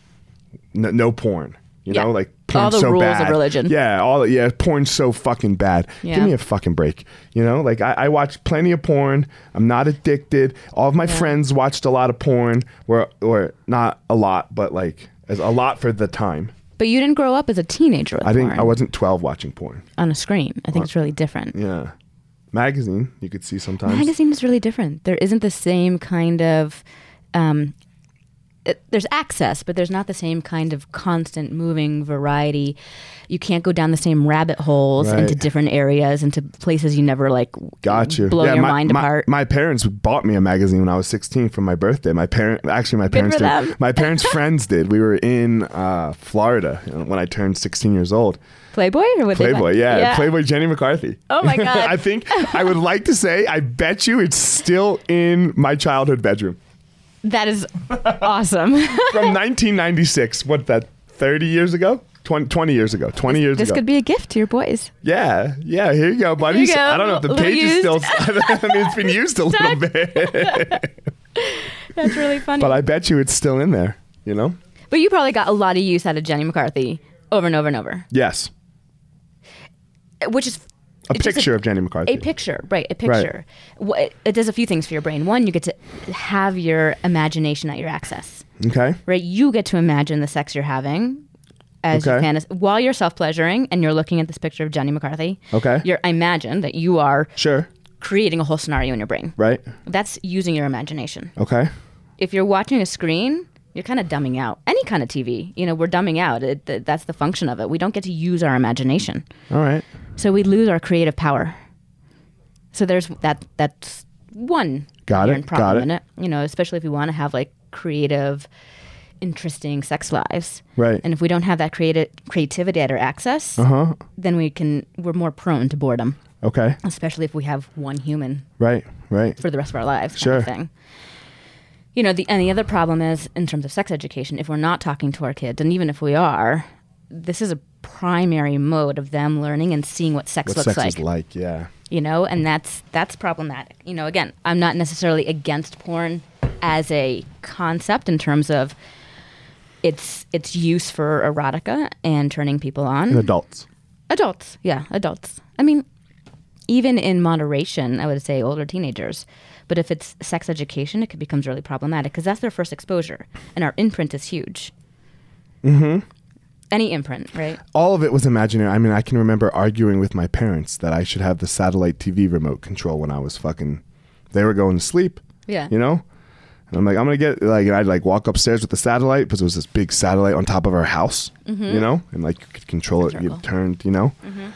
Speaker 1: n- no porn you
Speaker 2: Yeah.
Speaker 1: know like
Speaker 2: All
Speaker 1: porn's
Speaker 2: the
Speaker 1: so
Speaker 2: rules of
Speaker 1: bad
Speaker 2: religion.
Speaker 1: yeah all yeah porn's so fucking bad
Speaker 2: Yeah.
Speaker 1: give me a fucking break you know like I, I watch plenty of porn i'm not addicted all of my friends watched a lot of porn or or not a lot but like as a lot for the time
Speaker 2: But you didn't grow up as a teenager with
Speaker 1: i think
Speaker 2: porn
Speaker 1: i wasn't 12 watching porn
Speaker 2: on a screen. I think it's really different.
Speaker 1: yeah magazine you could see sometimes
Speaker 2: Magazine is really different. There isn't the same kind of. Um, it- there's access, but there's not the same kind of constant moving variety. You can't go down the same rabbit holes
Speaker 1: Right.
Speaker 2: into different areas, into places you never like.
Speaker 1: Got you.
Speaker 2: Blow your
Speaker 1: my,
Speaker 2: mind
Speaker 1: my,
Speaker 2: apart.
Speaker 1: My parents bought me a magazine when I was 16 for my birthday. My parent, actually, my parents
Speaker 2: for
Speaker 1: did.
Speaker 2: them.
Speaker 1: My parents' friends did. We were in uh, Florida when I turned 16 years old.
Speaker 2: Playboy or what? they call-
Speaker 1: Playboy, yeah, Playboy Jenny McCarthy.
Speaker 2: Oh my God.
Speaker 1: I think I would like to say I bet you it's still in my childhood bedroom
Speaker 2: That is awesome.
Speaker 1: from 1996. What that 30 years ago? 20, 20 years ago. 20 years
Speaker 2: this
Speaker 1: ago.
Speaker 2: could be a gift to your boys.
Speaker 1: yeah, yeah. Here you go, buddy.
Speaker 2: you go.
Speaker 1: I don't know if the
Speaker 2: Little
Speaker 1: page is
Speaker 2: used.
Speaker 1: still. I mean, it's been used a little bit.
Speaker 2: That's really funny.
Speaker 1: But I bet you it's still in there, you know?
Speaker 2: but you probably got a lot of use out of Jenny McCarthy over and over and over,
Speaker 1: Yes.
Speaker 2: which is
Speaker 1: A
Speaker 2: it's just
Speaker 1: picture of Jenny McCarthy.
Speaker 2: a picture right a picture Wha- it- it does a few things for your brain one you get to have your imagination at your access
Speaker 1: okay.
Speaker 2: right you get to imagine the sex you're having as you
Speaker 1: Okay.
Speaker 2: can as, while you're self-pleasuring and you're looking at this picture of jenny mccarthy
Speaker 1: Okay.
Speaker 2: you're I imagine that you are
Speaker 1: Sure.
Speaker 2: creating a whole scenario in your brain
Speaker 1: Right.
Speaker 2: that's using your imagination
Speaker 1: Okay.
Speaker 2: if you're watching a screen you're kind of dumbing out any kind of tv you know we're dumbing out it, th- that's the function of it we don't get to use our imagination
Speaker 1: All right.
Speaker 2: so we lose our creative power. So there's that. That's one.
Speaker 1: Got it,
Speaker 2: inherent problem
Speaker 1: got it.
Speaker 2: In it. You know, especially if we want to have like creative, interesting sex lives.
Speaker 1: Right.
Speaker 2: And if we don't have that creative creativity at our access,
Speaker 1: Huh?
Speaker 2: then we can we're more prone to boredom,
Speaker 1: Okay.
Speaker 2: especially if we have one human
Speaker 1: Right. Right.
Speaker 2: for the rest of our lives.
Speaker 1: Sure.
Speaker 2: Kind of thing. You know, the and the other problem is in terms of sex education, if we're not talking to our kids, and even if we are, this is a primary mode of them learning and seeing what sex
Speaker 1: What
Speaker 2: looks
Speaker 1: sex
Speaker 2: like
Speaker 1: is like, yeah.
Speaker 2: you know and that's that's problematic you know again i'm not necessarily against porn as a concept in terms of its its use for erotica and turning people
Speaker 1: And
Speaker 2: on
Speaker 1: adults.
Speaker 2: adults yeah adults i mean even in moderation i would say older teenagers but if it's sex education it could- becomes really problematic because that's their first exposure and our imprint is huge mm-hmm any imprint right
Speaker 1: All of it was imaginary. I mean, I can remember arguing with my parents that I should have the satellite TV remote control when I was fucking. They were going to sleep.
Speaker 2: Yeah.
Speaker 1: You know? And I'm like, I'm gonna get like, and I'd like walk upstairs with the satellite because it was this big satellite on top of our house,
Speaker 2: Mm-hmm.
Speaker 1: you know, and like you could control it. You
Speaker 2: Circle.
Speaker 1: turned, you know,
Speaker 2: Mm-hmm.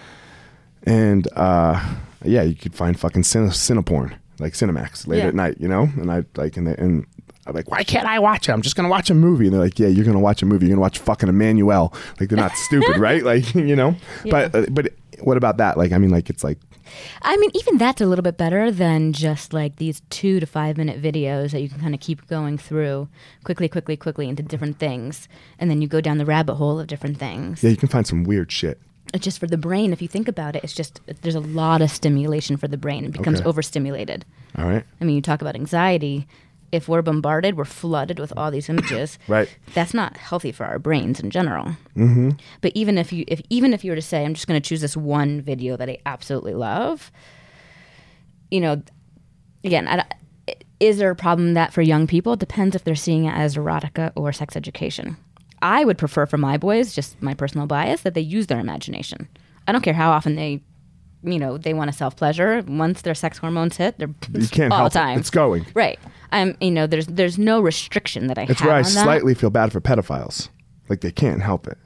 Speaker 1: and uh, yeah, you could find fucking cine- Cineporn, like Cinemax, late
Speaker 2: Yeah.
Speaker 1: at night, you know, and I like, and they, and I'm like, why can't I watch it? I'm just gonna watch a movie, and they're like, yeah, you're gonna watch a movie, you're gonna watch fucking Emmanuel, like they're not stupid, right? Like, you know, but uh, but what about that? Like, I mean, like it's like
Speaker 2: I mean, even that's a little bit better than just like these two to five minute videos that you can kind of keep going through quickly, quickly, quickly into different things. And then you go down the rabbit hole of different things.
Speaker 1: yeah, you can find some weird shit.
Speaker 2: It's just for the brain, if you think about it, it's just there's a lot of stimulation for the brain. It becomes
Speaker 1: Okay.
Speaker 2: overstimulated.
Speaker 1: All right,
Speaker 2: I mean, you talk about anxiety. If we're bombarded, we're flooded with all these images.
Speaker 1: Right.
Speaker 2: That's not healthy for our brains in general. Mm-hmm. But even if you, if even if you were to say, I'm just going to choose this one video that I absolutely love, you know, again, I, don't- is there a problem that for young people? It depends if they're seeing it as erotica or sex education. I would prefer for my boys, just my personal bias, that they use their imagination. I don't care how often they, you know, they want to self pleasure. Once their sex hormones hit, they're
Speaker 1: you can't
Speaker 2: all
Speaker 1: help
Speaker 2: the time.
Speaker 1: It. It's going.
Speaker 2: Right. I'm. You know, there's there's no restriction that I
Speaker 1: It's
Speaker 2: have.
Speaker 1: where I
Speaker 2: on that.
Speaker 1: slightly feel bad for pedophiles. Like they can't help it.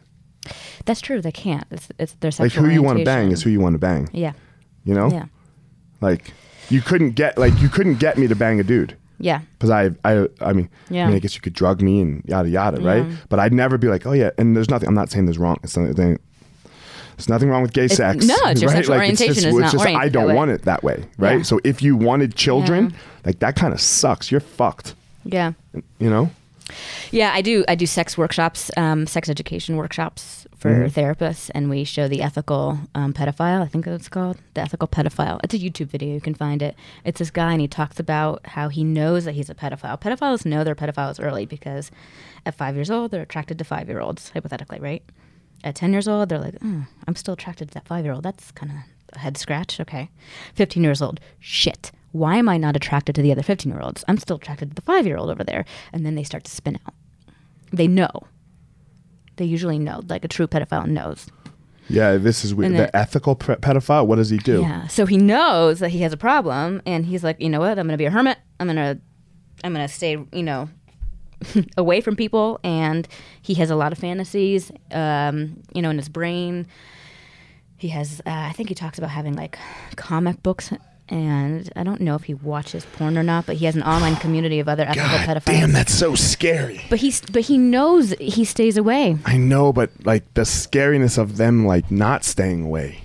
Speaker 2: That's true. They can't. It's, it's their
Speaker 1: Like
Speaker 2: sexual
Speaker 1: who you want to
Speaker 2: orientation.
Speaker 1: bang is who you want to bang.
Speaker 2: Yeah.
Speaker 1: You know?
Speaker 2: Yeah.
Speaker 1: Like you couldn't get like you couldn't get me to bang a dude
Speaker 2: Yeah.
Speaker 1: because I I I mean I
Speaker 2: Yeah.
Speaker 1: mean I guess you could drug me and yada yada right. But I'd never be like oh yeah. And there's nothing. I'm not saying there's wrong. It's nothing. There's nothing wrong with gay sex.
Speaker 2: no, it's your
Speaker 1: right?
Speaker 2: sexual
Speaker 1: Like, it's
Speaker 2: orientation
Speaker 1: just,
Speaker 2: is
Speaker 1: it's
Speaker 2: not
Speaker 1: just I
Speaker 2: oriented
Speaker 1: don't
Speaker 2: that way.
Speaker 1: want it that way, right?
Speaker 2: Yeah.
Speaker 1: So if you wanted children, like that kind of sucks. You're fucked,
Speaker 2: Yeah.
Speaker 1: you know.
Speaker 2: Yeah, I do. I do sex workshops, um, sex education workshops for therapists, and we show the ethical um, pedophile. I think that's what it's called the ethical pedophile. It's a YouTube video. You can find it. It's this guy, and he talks about how he knows that he's a pedophile. Pedophiles know they're pedophiles early because at five years old, they're attracted to five-year-olds, hypothetically, right? At ten years old, they're like, "Mm, I'm still attracted to that five-year-old. That's kind of a head scratch. Okay. 15 years old. Shit. Why am I not attracted to the other 15 year olds? I'm still attracted to the five year old over there. And then they start to spin out. They know. They usually know. Like a true pedophile knows.
Speaker 1: Yeah, this is weird.
Speaker 2: And
Speaker 1: The
Speaker 2: it-
Speaker 1: ethical pre- pedophile. What does he do?
Speaker 2: Yeah. So he knows that he has a problem and he's like, you know what? I'm going to be a hermit. I'm going to, I'm going to stay, you know, away from people. And he has a lot of fantasies, um, you know, in his brain. He has, uh, I think he talks about having like comic books. And I don't know if he watches porn or not, but he has an online community of other ethical
Speaker 1: God
Speaker 2: pedophiles.
Speaker 1: damn, that's so scary.
Speaker 2: But he's, but he knows he stays away.
Speaker 1: I know, but like the scariness of them, like not staying away.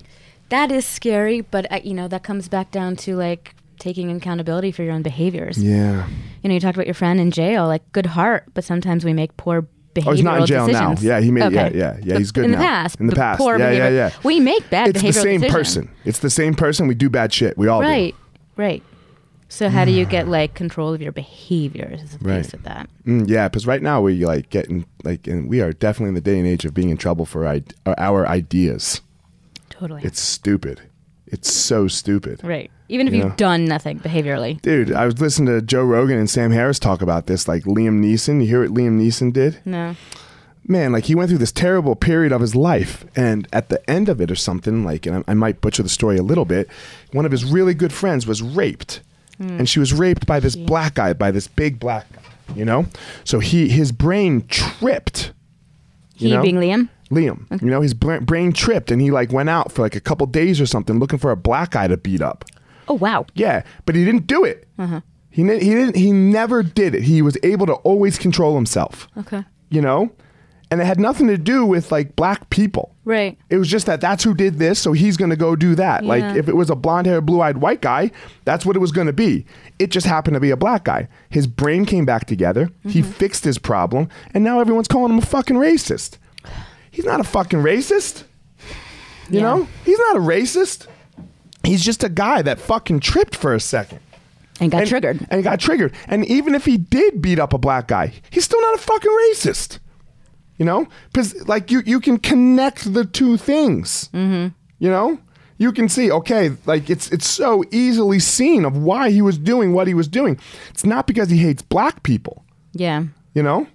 Speaker 2: That is scary, but uh, you know that comes back down to like taking accountability for your own behaviors.
Speaker 1: Yeah.
Speaker 2: you know, you talked about your friend in jail, like good heart, but sometimes we make poor behavioral
Speaker 1: Oh, he's not in jail now.
Speaker 2: decisions.
Speaker 1: Yeah, he made- yeah, yeah, yeah,
Speaker 2: But
Speaker 1: he's good
Speaker 2: in
Speaker 1: now.
Speaker 2: the past.
Speaker 1: In the
Speaker 2: but
Speaker 1: past.
Speaker 2: poor
Speaker 1: Yeah, yeah,
Speaker 2: behavior-
Speaker 1: yeah.
Speaker 2: We make bad
Speaker 1: it's
Speaker 2: behavioral
Speaker 1: the same
Speaker 2: decisions.
Speaker 1: person. It's the same person. We do bad shit. We all
Speaker 2: Right. Right. So how do you get like control of your behaviors as a
Speaker 1: Right.
Speaker 2: piece of that?
Speaker 1: do. Mm, yeah, because right now we like getting like, and we are definitely in the day and age of being in trouble for I- our ideas.
Speaker 2: Totally.
Speaker 1: It's stupid. It's so stupid.
Speaker 2: right. Even if
Speaker 1: you
Speaker 2: you've
Speaker 1: know.
Speaker 2: done nothing behaviorally.
Speaker 1: Dude, I was listening to Joe Rogan and Sam Harris talk about this. Like Liam Neeson, you hear what Liam Neeson did?
Speaker 2: No.
Speaker 1: man, like he went through this terrible period of his life, and at the end of it or something, like, and I, I might butcher the story a little bit, one of his really good friends was raped, and she was raped by this black guy, by this big black guy, you know. So he his brain tripped.
Speaker 2: He
Speaker 1: know?
Speaker 2: being Liam?
Speaker 1: Liam, you know, his bra- brain tripped and he like went out for like a couple days or something looking for a black guy to beat up.
Speaker 2: Oh wow.
Speaker 1: Yeah, but he didn't do it. He ne- he didn't he never did it. He was able to always control himself
Speaker 2: Okay.
Speaker 1: you know? And it had nothing to do with like black people.
Speaker 2: Right.
Speaker 1: It was just that that's who did this, so he's going to go do that.
Speaker 2: Yeah.
Speaker 1: Like if it was a blonde haired, blue eyed white guy, that's what it was going to be. It just happened to be a black guy. His brain came back together. He
Speaker 2: Mm-hmm.
Speaker 1: fixed his problem, and now everyone's calling him a fucking racist. He's not a fucking racist. You
Speaker 2: Yeah.
Speaker 1: know? He's not a racist. He's just a guy that fucking tripped for a second
Speaker 2: And got
Speaker 1: and,
Speaker 2: triggered.
Speaker 1: and got triggered. And even if he did beat up a black guy, he's still not a fucking racist. You know, because like you, you can connect the two things. Mm-hmm. You know, you can see okay, like it's it's so easily seen of why he was doing what he was doing. It's not because he hates black people.
Speaker 2: Yeah.
Speaker 1: You know,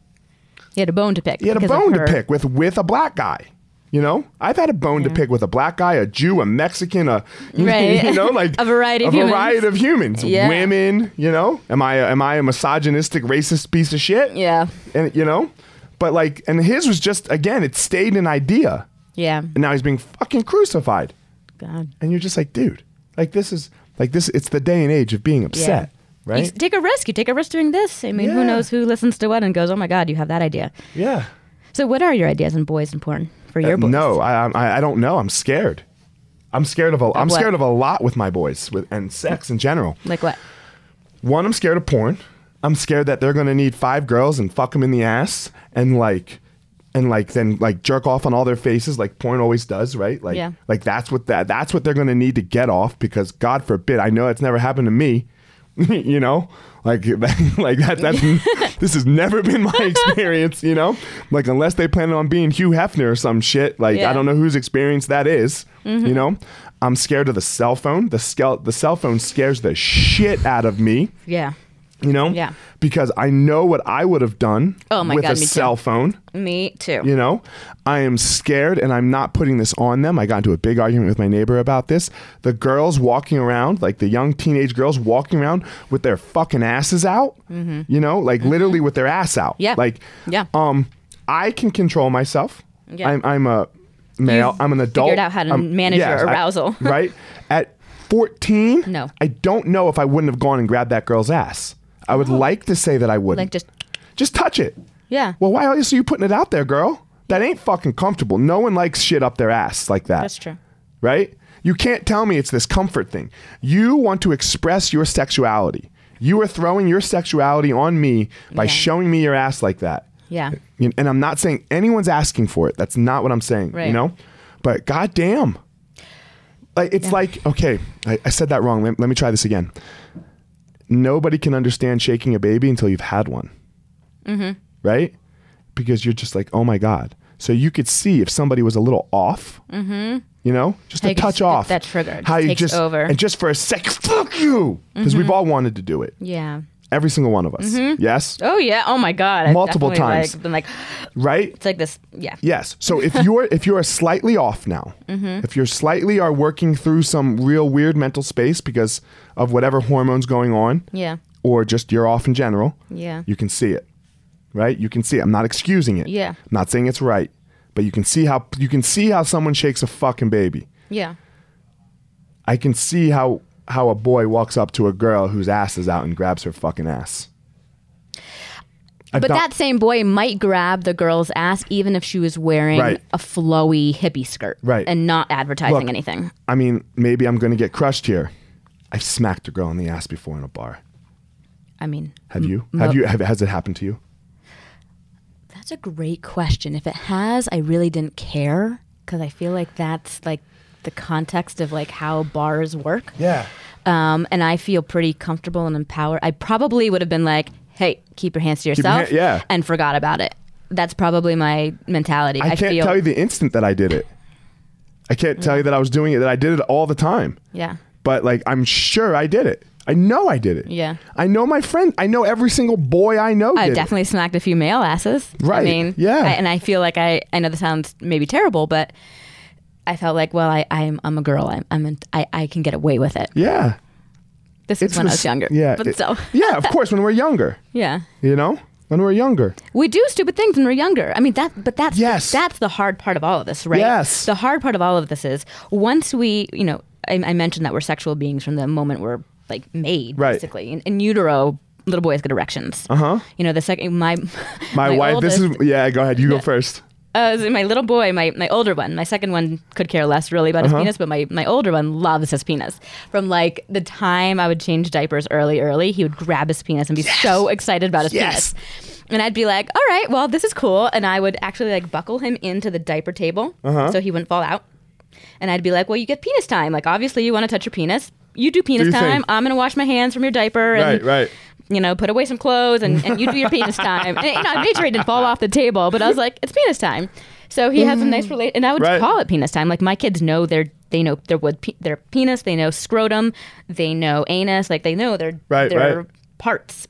Speaker 2: He had a bone to pick.
Speaker 1: he had a
Speaker 2: because of
Speaker 1: bone to
Speaker 2: her.
Speaker 1: pick with with a black guy. You know, I've had a bone to pick with a black guy, a Jew, a Mexican, a
Speaker 2: Right.
Speaker 1: you know, like
Speaker 2: A variety of humans.
Speaker 1: variety of humans,
Speaker 2: Yeah.
Speaker 1: women. You know, am I am I a misogynistic, racist piece of shit?
Speaker 2: Yeah.
Speaker 1: and you know, but like, and his was just again, it stayed an idea,
Speaker 2: Yeah.
Speaker 1: and now he's being fucking crucified,
Speaker 2: God.
Speaker 1: and you're just like, dude, like this is like this. It's the day and age of being upset,
Speaker 2: You
Speaker 1: right?
Speaker 2: s- take a risk. You take a risk doing this. I mean,
Speaker 1: Yeah.
Speaker 2: who knows who listens to what and goes, "Oh my God, you have that idea."
Speaker 1: yeah.
Speaker 2: So, what are your ideas on boys and porn for your
Speaker 1: Uh,
Speaker 2: boys?
Speaker 1: No, I, I I don't know. I'm scared. I'm scared of a I'm
Speaker 2: what?
Speaker 1: scared of a lot with my boys with and sex in general.
Speaker 2: like what?
Speaker 1: One, I'm scared of porn. I'm scared that they're gonna need five girls and fuck them in the ass and like and like then like jerk off on all their faces like porn always does, right? Like
Speaker 2: Yeah.
Speaker 1: like that's what that that's what they're gonna need to get off because God forbid I know that's never happened to me. you know, like like that that's this has never been my experience. You know, like unless they plan on being Hugh Hefner or some shit. Like
Speaker 2: Yeah. Mm-hmm.
Speaker 1: I don't know whose experience that is, You know, I'm scared of the cell phone. The skel- the cell phone scares the shit out of me.
Speaker 2: Yeah,
Speaker 1: You know,
Speaker 2: Yeah.
Speaker 1: because I know what I would have done
Speaker 2: Oh my
Speaker 1: with
Speaker 2: God,
Speaker 1: a
Speaker 2: me too.
Speaker 1: cell phone.
Speaker 2: me too.
Speaker 1: You know, I am scared and I'm not putting this on them. I got into a big argument with my neighbor about this. The girls walking around, like the young teenage girls walking around with their fucking asses out, you know, like literally with their ass out.
Speaker 2: Mm-hmm. Yeah.
Speaker 1: Like,
Speaker 2: Yeah.
Speaker 1: Um, I can control myself.
Speaker 2: Yeah.
Speaker 1: I'm, I'm a male.
Speaker 2: You've
Speaker 1: I'm an adult.
Speaker 2: figured out how to
Speaker 1: I'm-
Speaker 2: manage your
Speaker 1: yes, I-
Speaker 2: arousal.
Speaker 1: right? At 14,
Speaker 2: No.
Speaker 1: I don't know if I wouldn't have gone and grabbed that girl's ass. I would like to say that I wouldn't.
Speaker 2: Oh. Like just
Speaker 1: Just touch it.
Speaker 2: Yeah.
Speaker 1: Well, why else are you putting it out there, girl? That ain't fucking comfortable. No one likes shit up their ass like that.
Speaker 2: that's true.
Speaker 1: Right? You can't tell me it's this comfort thing. You want to express your sexuality. You are throwing your sexuality on me by
Speaker 2: Yeah.
Speaker 1: showing me your ass like that.
Speaker 2: Yeah.
Speaker 1: You- And I'm not saying anyone's asking for it. That's not what I'm saying. You
Speaker 2: Right.
Speaker 1: know? But goddamn. Like it's like, okay, I, I said that wrong. Let, let me try this again. Nobody can understand shaking a baby until you've had one.
Speaker 2: Mm-hmm.
Speaker 1: Right? Because you're just like, oh my God. So you could see if somebody was a little off. Mm-hmm. You know? Just
Speaker 2: How
Speaker 1: a
Speaker 2: you can
Speaker 1: touch
Speaker 2: just get
Speaker 1: off.
Speaker 2: that trigger. It
Speaker 1: How
Speaker 2: just
Speaker 1: you
Speaker 2: takes
Speaker 1: just
Speaker 2: over. Mm-hmm.
Speaker 1: and just for a sec, fuck you. Because we've all wanted to do it.
Speaker 2: Yeah.
Speaker 1: Every single one of us. Yes?
Speaker 2: Oh yeah. Oh my god. I've
Speaker 1: Multiple
Speaker 2: definitely,
Speaker 1: times.
Speaker 2: Like, been like,
Speaker 1: Right?
Speaker 2: it's like this. Yeah.
Speaker 1: Yes. So if you're if you're slightly off now,
Speaker 2: Mm-hmm.
Speaker 1: if you're slightly are working through some real weird mental space because of whatever hormones going on,
Speaker 2: Yeah.
Speaker 1: or just you're off in general,
Speaker 2: Yeah.
Speaker 1: you can see it, right? You can see it. I'm not excusing it.
Speaker 2: Yeah.
Speaker 1: I'm not saying it's right, but you can see how you can see how someone shakes a fucking baby.
Speaker 2: Yeah.
Speaker 1: I can see how how a boy walks up to a girl whose ass is out and grabs her fucking ass. I've
Speaker 2: But
Speaker 1: done-
Speaker 2: that same boy might grab the girl's ass even if she was wearing
Speaker 1: Right.
Speaker 2: a flowy hippie skirt
Speaker 1: Right.
Speaker 2: and not advertising
Speaker 1: Look,
Speaker 2: anything.
Speaker 1: I mean, maybe I'm going to get crushed here. I've smacked a girl in the ass before in a bar.
Speaker 2: I mean,
Speaker 1: Have you?
Speaker 2: Mm, no.
Speaker 1: Have you? Have, has it happened to you?
Speaker 2: that's a great question. If it has, I really didn't care because I feel like that's like the context of like how bars work.
Speaker 1: Yeah.
Speaker 2: Um, and I feel pretty comfortable and empowered. I probably would have been like, "Hey, keep your hands to
Speaker 1: your
Speaker 2: yourself,"
Speaker 1: hand- yeah.
Speaker 2: and forgot about it. That's probably my mentality.
Speaker 1: I, can't
Speaker 2: feel, Mm.
Speaker 1: tell you the instant that I did it. I can't tell you that I was doing it. That I did it all the time.
Speaker 2: yeah,
Speaker 1: But like, I'm sure I did it. I know I did it.
Speaker 2: Yeah.
Speaker 1: I know my friend. I know every single boy I know.
Speaker 2: I've
Speaker 1: did it.
Speaker 2: definitely smacked a few male asses.
Speaker 1: Right.
Speaker 2: I mean,
Speaker 1: Yeah.
Speaker 2: I- and I feel like I, I know this sounds maybe terrible, but I felt like, well, I, I'm, I'm a girl. I'm, I'm an, I, I can get away with it.
Speaker 1: Yeah.
Speaker 2: This is when I
Speaker 1: the
Speaker 2: was
Speaker 1: s-
Speaker 2: younger.
Speaker 1: Yeah.
Speaker 2: But
Speaker 1: it-
Speaker 2: so,
Speaker 1: yeah. Of course, when we're younger.
Speaker 2: yeah.
Speaker 1: You know, when we're younger.
Speaker 2: We do stupid things when we're younger. I mean that, but that's
Speaker 1: Yes.
Speaker 2: that's the hard part of all of this, right?
Speaker 1: Yes.
Speaker 2: The hard part of all of this is once we, you know, I, I mentioned that we're sexual beings from the moment we're like made,
Speaker 1: Right. Uh-huh.
Speaker 2: basically. In, in utero, little boys get erections. Uh huh. You know, the second my
Speaker 1: My, wife.
Speaker 2: oldest,
Speaker 1: This is. Yeah. Go ahead. You go first.
Speaker 2: uh, so my little boy, my, my older one, my second one could care less really about
Speaker 1: Uh-huh.
Speaker 2: his penis, but my, my older one loves his penis. From like the time I would change diapers early, early, he would grab his penis and be so excited about his
Speaker 1: Yes.
Speaker 2: penis. And I'd be like, all right, well, this is cool. And I would actually like buckle him into the diaper table
Speaker 1: Uh-huh.
Speaker 2: so he wouldn't fall out. And I'd be like, well, you get penis time. Like, obviously, you want to touch your penis. You do penis
Speaker 1: your thing.
Speaker 2: time. I'm going to wash my hands from your diaper.
Speaker 1: Right.
Speaker 2: And
Speaker 1: Right.
Speaker 2: you know, put away some clothes and, and you do your penis time. And, you know, I made sure he didn't fall off the table, but I was like, it's penis time. So he has a nice relate, and I would
Speaker 1: Mm. Right.
Speaker 2: call it penis time. Like my kids know their they know their wood pe- their penis, they know scrotum, they know anus, like they know their
Speaker 1: Right,
Speaker 2: their
Speaker 1: right.
Speaker 2: parts.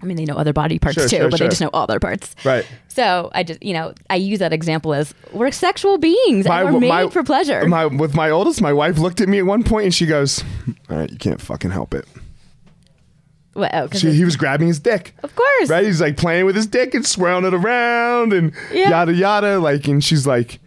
Speaker 2: I mean, they know other body parts
Speaker 1: Sure,
Speaker 2: too,
Speaker 1: sure,
Speaker 2: but
Speaker 1: sure.
Speaker 2: they just know all their parts.
Speaker 1: Right.
Speaker 2: So I just, you know, I use that example as we're sexual beings and we're made for pleasure.
Speaker 1: My, with my oldest, my wife looked at me at one point and she goes, "All right, you can't fucking help it."
Speaker 2: Well, oh, 'cause
Speaker 1: She,
Speaker 2: it's-
Speaker 1: he was grabbing his dick.
Speaker 2: of course,
Speaker 1: Right? He's like playing with his dick and swirling it around and
Speaker 2: Yeah.
Speaker 1: yada yada. Like, and she's like,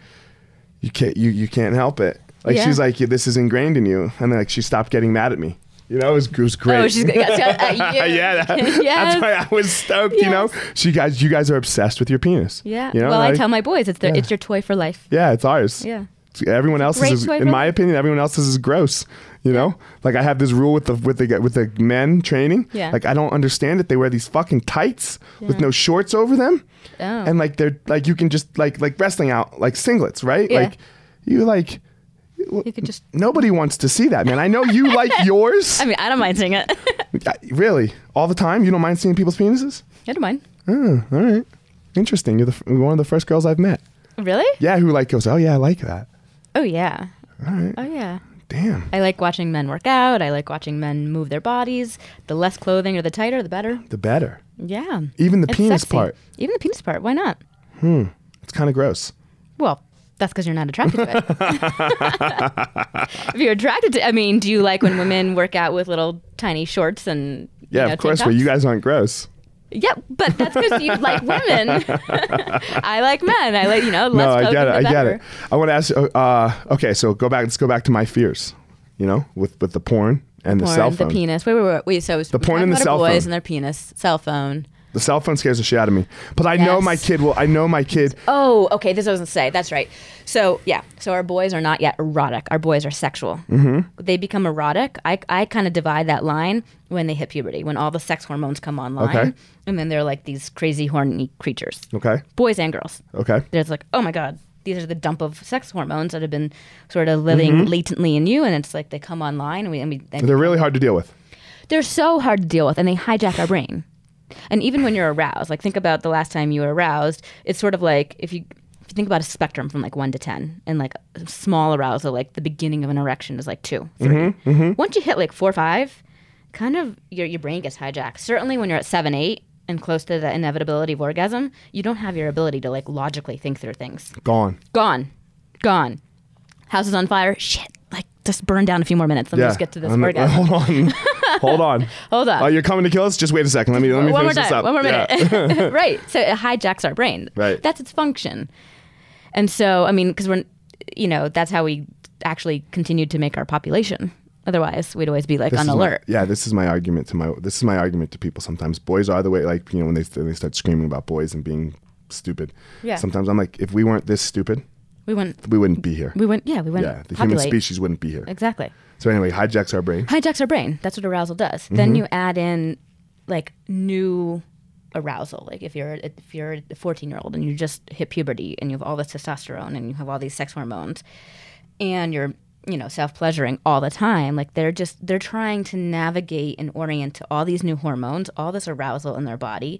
Speaker 1: "You can't, you you can't help it." Like,
Speaker 2: Yeah.
Speaker 1: she's like, yeah, "This is ingrained in you," and then like she stopped getting mad at me. You know, it was, it was great.
Speaker 2: Oh, she's got, uh, yeah,
Speaker 1: yeah, that-
Speaker 2: yes.
Speaker 1: that's why I was stoked. You know, she guys, you guys are obsessed with your penis.
Speaker 2: Yeah.
Speaker 1: You know,
Speaker 2: well, I
Speaker 1: like,
Speaker 2: tell my boys it's their
Speaker 1: Yeah.
Speaker 2: it's your toy for life.
Speaker 1: Yeah, it's ours.
Speaker 2: Yeah.
Speaker 1: It's- Everyone else's,
Speaker 2: great
Speaker 1: is,
Speaker 2: toy
Speaker 1: in
Speaker 2: for
Speaker 1: my opinion, everyone else's is gross. You know, like I have this rule with the with the with the men training.
Speaker 2: Yeah.
Speaker 1: Like I don't understand it. They wear these fucking tights with no shorts over them,
Speaker 2: Oh.
Speaker 1: and like they're like you can just like like wrestling out like singlets, right?
Speaker 2: Yeah.
Speaker 1: Like you like
Speaker 2: you could just.
Speaker 1: nobody wants to see that, man. I know you like yours.
Speaker 2: I mean, I don't mind seeing it. I
Speaker 1: I- really, all the time. You don't mind seeing people's penises?
Speaker 2: don't mind.
Speaker 1: Oh, all right. Interesting. You're the f- one of the first girls I've met.
Speaker 2: Really?
Speaker 1: Yeah, who like goes, oh yeah, I like that.
Speaker 2: Oh yeah.
Speaker 1: All right.
Speaker 2: Oh yeah.
Speaker 1: Damn.
Speaker 2: I like watching men work out. I like watching men move their bodies. The less clothing or the tighter, the better.
Speaker 1: The better.
Speaker 2: Yeah.
Speaker 1: Even the
Speaker 2: It's
Speaker 1: penis
Speaker 2: sexy.
Speaker 1: part.
Speaker 2: Even the penis part. Why not?
Speaker 1: It's kind of gross.
Speaker 2: Well, that's because you're not attracted to it. if you're attracted to, I mean, do you like when women work out with little tiny shorts and you
Speaker 1: Yeah,
Speaker 2: know,
Speaker 1: of course.
Speaker 2: tank
Speaker 1: But you
Speaker 2: tops?
Speaker 1: guys aren't gross.
Speaker 2: Yeah, but that's because you like women. I like men. I like you know.
Speaker 1: No,
Speaker 2: Less
Speaker 1: I
Speaker 2: clothing,
Speaker 1: get it.
Speaker 2: the
Speaker 1: I get
Speaker 2: better.
Speaker 1: it. I want to ask. you, Uh, okay, so go back. Let's go back to my fears. You know, with with the porn and the
Speaker 2: Porn,
Speaker 1: cell phone.
Speaker 2: the penis. Wait, wait, wait. wait so the
Speaker 1: porn and the cell
Speaker 2: boys
Speaker 1: phone.
Speaker 2: and their penis, cell phone.
Speaker 1: The cell phone scares the shit out of me. But I know
Speaker 2: Yes.
Speaker 1: my kid will. I know my kid.
Speaker 2: Oh, okay. This I was gonna say. That's right. So yeah. So our boys are not yet erotic. Our boys are sexual. Mm-hmm. They become erotic. I, I kind of divide that line when they hit puberty, when all the sex hormones come online,
Speaker 1: Okay.
Speaker 2: and then they're like these crazy horny creatures,
Speaker 1: Okay.
Speaker 2: boys and girls.
Speaker 1: Okay.
Speaker 2: There's like, oh my god, these are the dump of sex hormones that have been sort of living latently in you, and it's like they come online, and we, and we and
Speaker 1: They're really hard to deal with.
Speaker 2: they're so hard to deal with and they hijack our brain. And even when you're aroused, like think about the last time you were aroused, it's sort of like if you if you think about a spectrum from like 1 to 10 and like a small arousal like the beginning of an erection is like 2, 3. Once you hit like 4 5, kind of your your brain gets hijacked. Certainly when you're at 7 8 and close to the inevitability of orgasm, you don't have your ability to like logically think through things.
Speaker 1: Gone.
Speaker 2: Gone. Gone. House is on fire. Shit. Like just burn down a few more minutes. Let me just get to this
Speaker 1: I'm-
Speaker 2: orgasm.
Speaker 1: Hold on. hold on.
Speaker 2: Hold on.
Speaker 1: Oh, you're coming to kill us? Just wait a second. Let me let me
Speaker 2: one more
Speaker 1: finish this up.
Speaker 2: time, one more
Speaker 1: Yeah.
Speaker 2: minute. right. So it hijacks our brain.
Speaker 1: Right.
Speaker 2: That's its function. And so, I mean, because we're, you know, that's how we actually continued to make our population. Otherwise, we'd always be like on
Speaker 1: This is my-
Speaker 2: alert.
Speaker 1: yeah, this is my argument to my this is my argument to people sometimes. Boys are the way like, you know, when they they start screaming about boys and being stupid.
Speaker 2: Yeah.
Speaker 1: Sometimes I'm like, if we weren't this stupid,
Speaker 2: we wouldn't.
Speaker 1: we wouldn't be here.
Speaker 2: We wouldn't. Yeah, we wouldn't.
Speaker 1: yeah, the human
Speaker 2: populate.
Speaker 1: species wouldn't be here.
Speaker 2: Exactly.
Speaker 1: So anyway, hijacks our brain.
Speaker 2: Hijacks our brain. That's what arousal does. Then you add in like new arousal. Like if you're if you're a 14 year old and you just hit puberty and you have all this testosterone and you have all these sex hormones, and you're you know self pleasuring all the time like they're just they're trying to navigate and orient to all these new hormones all this arousal in their body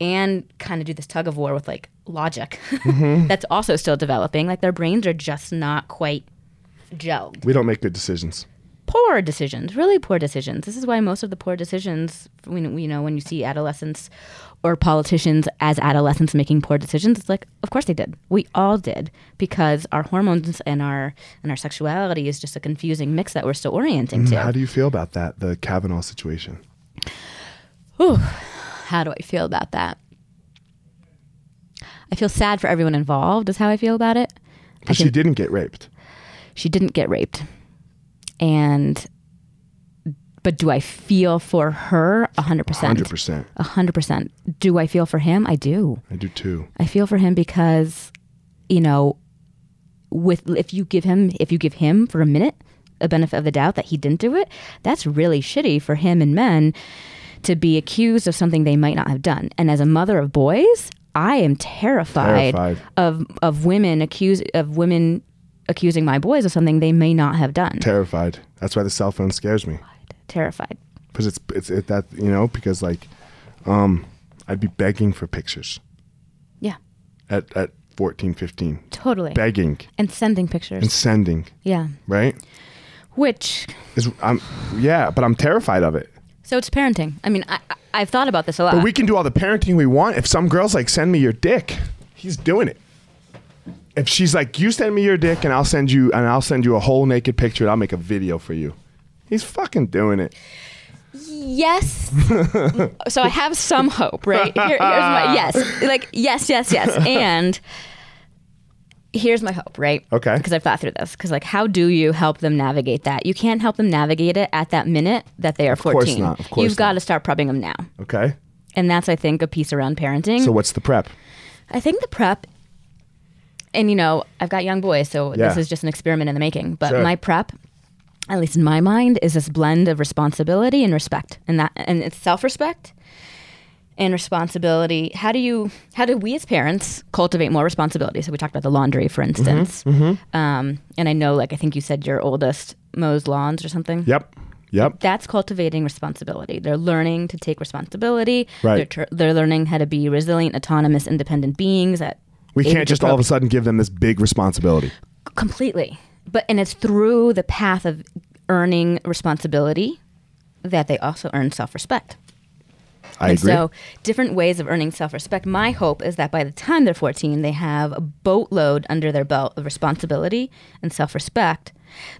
Speaker 2: and kind of do this tug of war with like logic that's also still developing like their brains are just not quite gelled
Speaker 1: We don't make good decisions.
Speaker 2: poor decisions, really poor decisions. This is why most of the poor decisions, when you know, when you see adolescents or politicians as adolescents making poor decisions, it's like, of course they did. We all did because our hormones and our and our sexuality is just a confusing mix that we're still orienting to.
Speaker 1: How do you feel about that, the Kavanaugh situation?
Speaker 2: How do I feel about that? I feel sad for everyone involved. Is how I feel about it. I
Speaker 1: But she
Speaker 2: can-
Speaker 1: didn't get raped.
Speaker 2: she didn't get raped and but do i feel for her 100%
Speaker 1: 100%.
Speaker 2: 100% do i feel for him i do
Speaker 1: I do too.
Speaker 2: i feel for him because you know with if you give him if you give him for a minute a benefit of the doubt that he didn't do it that's really shitty for him and men to be accused of something they might not have done and as a mother of boys i am terrified,
Speaker 1: Terrified.
Speaker 2: of of women accuse of women accusing my boys of something they may not have done
Speaker 1: Terrified. That's why the cell phone scares me.
Speaker 2: terrified
Speaker 1: because it's it's it, that you know because like um i'd be begging for pictures
Speaker 2: yeah
Speaker 1: at at 14 15
Speaker 2: totally
Speaker 1: begging
Speaker 2: and sending pictures
Speaker 1: and sending
Speaker 2: yeah
Speaker 1: right
Speaker 2: which
Speaker 1: is i'm yeah but i'm terrified of it
Speaker 2: so it's parenting i mean i, I i've thought about this a lot
Speaker 1: but we can do all the parenting we want if some girls like send me your dick he's doing it if she's like you send me your dick and i'll send you and i'll send you a whole naked picture and i'll make a video for you he's fucking doing it
Speaker 2: yes. so I have some hope, right? Here, here's my yes, like yes, yes, yes, and here's my hope, right?
Speaker 1: Okay.
Speaker 2: Because I've thought through this. Because like, how do you help them navigate that? You can't help them navigate it at that minute that they are
Speaker 1: course
Speaker 2: fourteen.
Speaker 1: not, of course
Speaker 2: You've got
Speaker 1: not.
Speaker 2: to start prepping them now,
Speaker 1: okay
Speaker 2: and that's I think a piece around parenting.
Speaker 1: so what's the prep
Speaker 2: I think the prep, and you know, I've got young boys, so this
Speaker 1: Yeah.
Speaker 2: is just an experiment in the making. But
Speaker 1: Sure.
Speaker 2: my prep, at least in my mind, is this blend of responsibility and respect, and that, and it's self-respect and responsibility. How do you, how do we as parents cultivate more responsibility? So we talked about the laundry, for
Speaker 1: Mm-hmm.
Speaker 2: instance, Um, and I know, like, I think you said your oldest mows lawns or something
Speaker 1: yep yep
Speaker 2: that's cultivating responsibility. They're learning to take responsibility.
Speaker 1: Right.
Speaker 2: They're, tr- they're learning how to be resilient, autonomous, independent beings. That
Speaker 1: we can't
Speaker 2: age
Speaker 1: just all of a
Speaker 2: appropri-
Speaker 1: sudden give them this big responsibility
Speaker 2: completely. But and it's through the path of earning responsibility that they also earn self-respect.
Speaker 1: i
Speaker 2: and
Speaker 1: agree
Speaker 2: so different ways of earning self-respect. My hope is that by the time they're 14, they have a boatload under their belt of responsibility and self-respect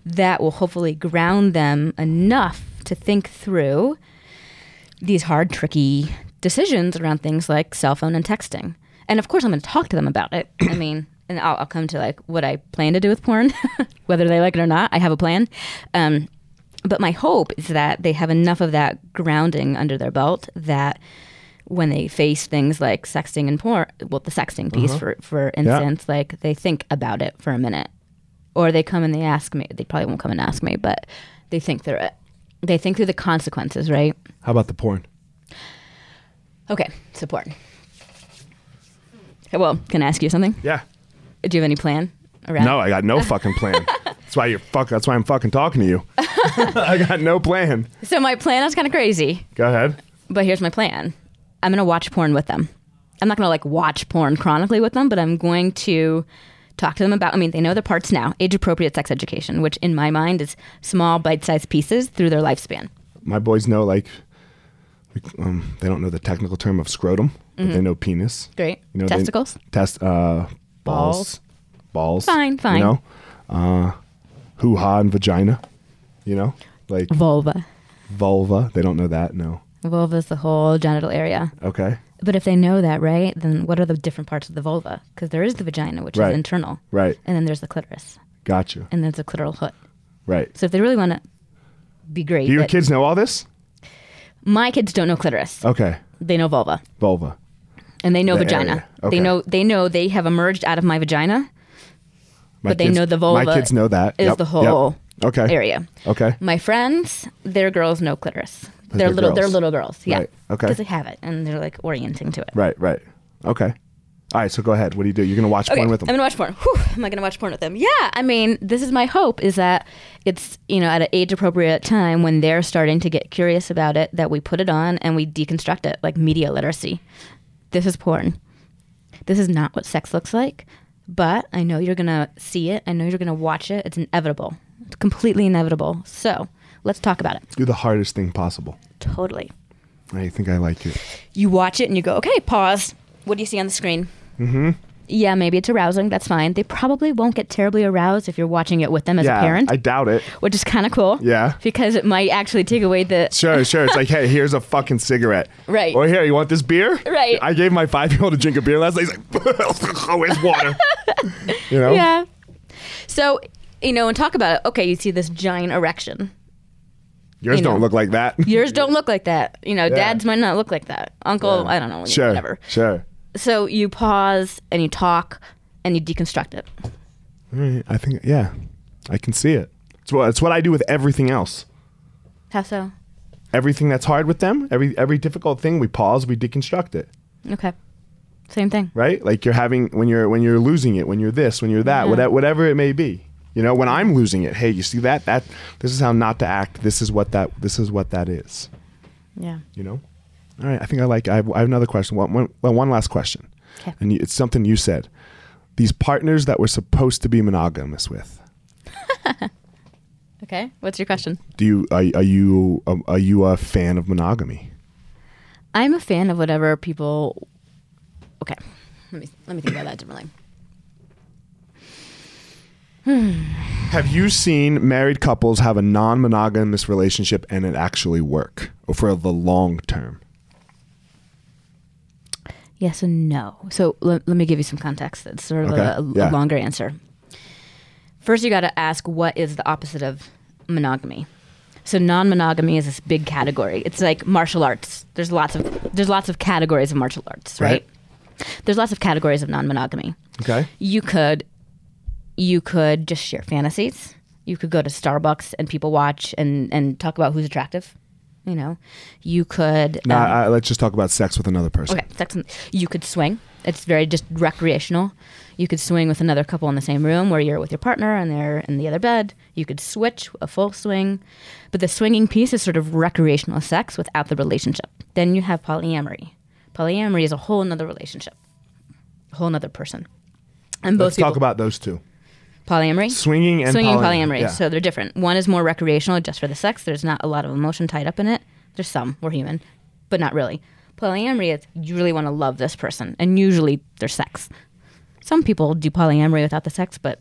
Speaker 2: that will hopefully ground them enough to think through these hard, tricky decisions around things like cell phone and texting. And of course, I'm going to talk to them about it. I mean, and I'll, I'll come to like what I plan to do with porn, whether they like it or not. I have a plan. Um, but my hope is that they have enough of that grounding under their belt that when they face things like sexting and porn, well, the sexting piece, for, for instance, like they think about it for a minute. Or they come and they ask me, they probably won't come and ask me, but they think through it. They think through the consequences, right?
Speaker 3: How about the porn?
Speaker 2: Okay, support. Okay, well, can I ask you something?
Speaker 1: Yeah.
Speaker 2: Do you have any plan around?
Speaker 1: No, I got no fucking plan. that's why you're fuck. That's why I'm fucking talking to you. I got no plan.
Speaker 2: So my plan is kind of crazy.
Speaker 1: Go ahead.
Speaker 2: but here's my plan i'm going to watch porn with them i'm not going to like watch porn chronically with them but i'm going to talk to them about i mean they know the parts now age appropriate sex education which in my mind is small bite-sized pieces through their lifespan
Speaker 1: My boys know like, like, um, they don't know the technical term of scrotum, but they know penis.
Speaker 2: great
Speaker 1: You know, they-
Speaker 2: Mm-hmm. testicles
Speaker 1: test uh, balls, balls.
Speaker 2: Fine, fine.
Speaker 1: You know, uh, hoo ha and vagina. You know, like
Speaker 2: vulva
Speaker 1: vulva. They don't know that. No.
Speaker 2: vulva is the whole genital area
Speaker 1: Okay.
Speaker 2: but if they know that right then what are the different parts of the vulva because there is the vagina which
Speaker 1: Right.
Speaker 2: is internal
Speaker 1: Right.
Speaker 2: and then there's the clitoris
Speaker 1: Gotcha.
Speaker 2: and there's the clitoral hood
Speaker 1: Right.
Speaker 2: so if they really want to be great
Speaker 1: Do your
Speaker 2: but
Speaker 1: kids know all this?
Speaker 2: my kids don't know clitoris
Speaker 1: Okay.
Speaker 2: they know vulva
Speaker 1: Vulva.
Speaker 2: and they know
Speaker 1: The
Speaker 2: vagina.
Speaker 1: area. Okay.
Speaker 2: They know they know they have emerged out of my vagina
Speaker 1: My
Speaker 2: But they
Speaker 1: kids-
Speaker 2: know the
Speaker 1: My
Speaker 2: vulva
Speaker 1: kids know that.
Speaker 2: is
Speaker 1: Yep,
Speaker 2: the
Speaker 1: yep.
Speaker 2: whole
Speaker 1: Okay.
Speaker 2: area.
Speaker 1: Okay.
Speaker 2: My friends, their girls know clitoris. They're
Speaker 1: they're
Speaker 2: little. They're
Speaker 1: girls.
Speaker 2: little girls. Yeah.
Speaker 1: Right. Okay.
Speaker 2: Because they have it and they're like orienting to it.
Speaker 1: Right. Right. Okay. All right. So go ahead. What do you do? You're gonna watch
Speaker 2: Okay,
Speaker 1: porn with them.
Speaker 2: I'm gonna watch porn. Whew, am I gonna watch porn with them? Yeah, I mean, this is my hope is that it's you know at an age appropriate time when they're starting to get curious about it that we put it on and we deconstruct it like media literacy. This is porn. This is not what sex looks like, but I know you're gonna see it. I know you're gonna watch it. It's inevitable. It's completely inevitable. So let's talk about it.
Speaker 1: do the hardest thing possible.
Speaker 2: Totally.
Speaker 1: I think I like it.
Speaker 2: You watch it and you go, okay, pause. What do you see on the screen?
Speaker 1: Mm-hmm.
Speaker 2: yeah, maybe it's arousing. That's fine. They probably won't get terribly aroused if you're watching it with them as
Speaker 1: yeah.
Speaker 2: a parent,
Speaker 1: I doubt it.
Speaker 2: which is kind of cool.
Speaker 1: Yeah.
Speaker 2: Because it might actually take away the.
Speaker 1: Sure, sure. It's like, hey, here's a fucking cigarette.
Speaker 2: Right.
Speaker 1: Or here, you want this beer?
Speaker 2: Right.
Speaker 1: I gave my five year old a drink of beer last night. He's like, oh, it's water. you know?
Speaker 2: Yeah. So, you know, and talk about it. Okay, you see this giant erection.
Speaker 1: Yours
Speaker 2: you
Speaker 1: don't
Speaker 2: know.
Speaker 1: look like that.
Speaker 2: Yours don't look like that. You know, dad's might not look like that. Uncle, I don't know.
Speaker 1: sure.
Speaker 2: Whatever.
Speaker 1: Sure.
Speaker 2: So you pause and you talk and you deconstruct it.
Speaker 1: All right. I think, yeah, I can see it. It's what, it's what I do with everything else.
Speaker 2: How so?
Speaker 1: Everything that's hard with them, every every difficult thing, we pause, we deconstruct it.
Speaker 2: Okay. Same thing.
Speaker 1: right? Like you're having when you're when you're losing it, when you're this, when you're that,
Speaker 2: Yeah.
Speaker 1: whate- whatever it may be. You know, when I'm losing it, hey, you see that? That this is how not to act. This is what that this is what that is.
Speaker 2: Yeah.
Speaker 1: You know. All right, I think I like. I have, I have another question. One, one, well, one last question,
Speaker 2: Okay.
Speaker 1: and you, it's something you said. These partners that we're supposed to be monogamous with.
Speaker 2: Okay. What's your question?
Speaker 1: Do you are, are you um, are you a fan of monogamy?
Speaker 2: I'm a fan of whatever people. Okay, let me let me think about that differently.
Speaker 1: Have you seen married couples have a non-monogamous relationship and it actually work for the long term?
Speaker 2: Yes and no. So let, let me give you some context. It's sort of
Speaker 1: Okay,
Speaker 2: a, a
Speaker 1: yeah.
Speaker 2: longer answer. First, you got to ask what is the opposite of monogamy. So non-monogamy is this big category. It's like martial arts. There's lots of there's lots of categories of martial arts, right? There's lots of categories of non-monogamy.
Speaker 1: Okay.
Speaker 2: you could you could just share fantasies you could go to starbucks and people watch and and talk about who's attractive you know you could
Speaker 1: No,
Speaker 2: um,
Speaker 1: I, I- let's just talk about sex with another person.
Speaker 2: okay sex and, you could swing it's very just recreational you could swing with another couple in the same room where you're with your partner and they're in the other bed you could switch a full swing but the swinging piece is sort of recreational sex without the relationship then you have polyamory polyamory is a whole nother relationship a whole nother person and both
Speaker 1: Let's
Speaker 2: people,
Speaker 1: talk about those two.
Speaker 2: polyamory
Speaker 1: Swinging and
Speaker 2: swinging
Speaker 1: polyamory.
Speaker 2: polyamory.
Speaker 1: Yeah.
Speaker 2: So they're different. One is more recreational, just for the sex. There's not a lot of emotion tied up in it. There's some. We're human, but not really. Polyamory is you really want to love this person, and usually there's sex. Some people do polyamory without the sex, but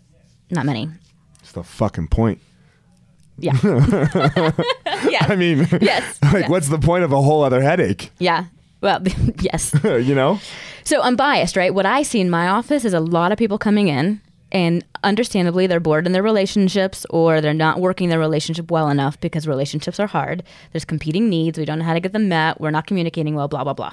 Speaker 2: not many.
Speaker 1: It's the fucking point.
Speaker 2: Yeah. yes.
Speaker 1: I mean,
Speaker 2: yes.
Speaker 1: like, what's the point of a whole other headache?
Speaker 2: Yeah. Well, yes.
Speaker 1: you know?
Speaker 2: So I'm biased, right? What I see in my office is a lot of people coming in, and understandably, they're bored in their relationships or they're not working their relationship well enough because relationships are hard. There's competing needs. We don't know how to get them met. We're not communicating well, blah, blah, blah.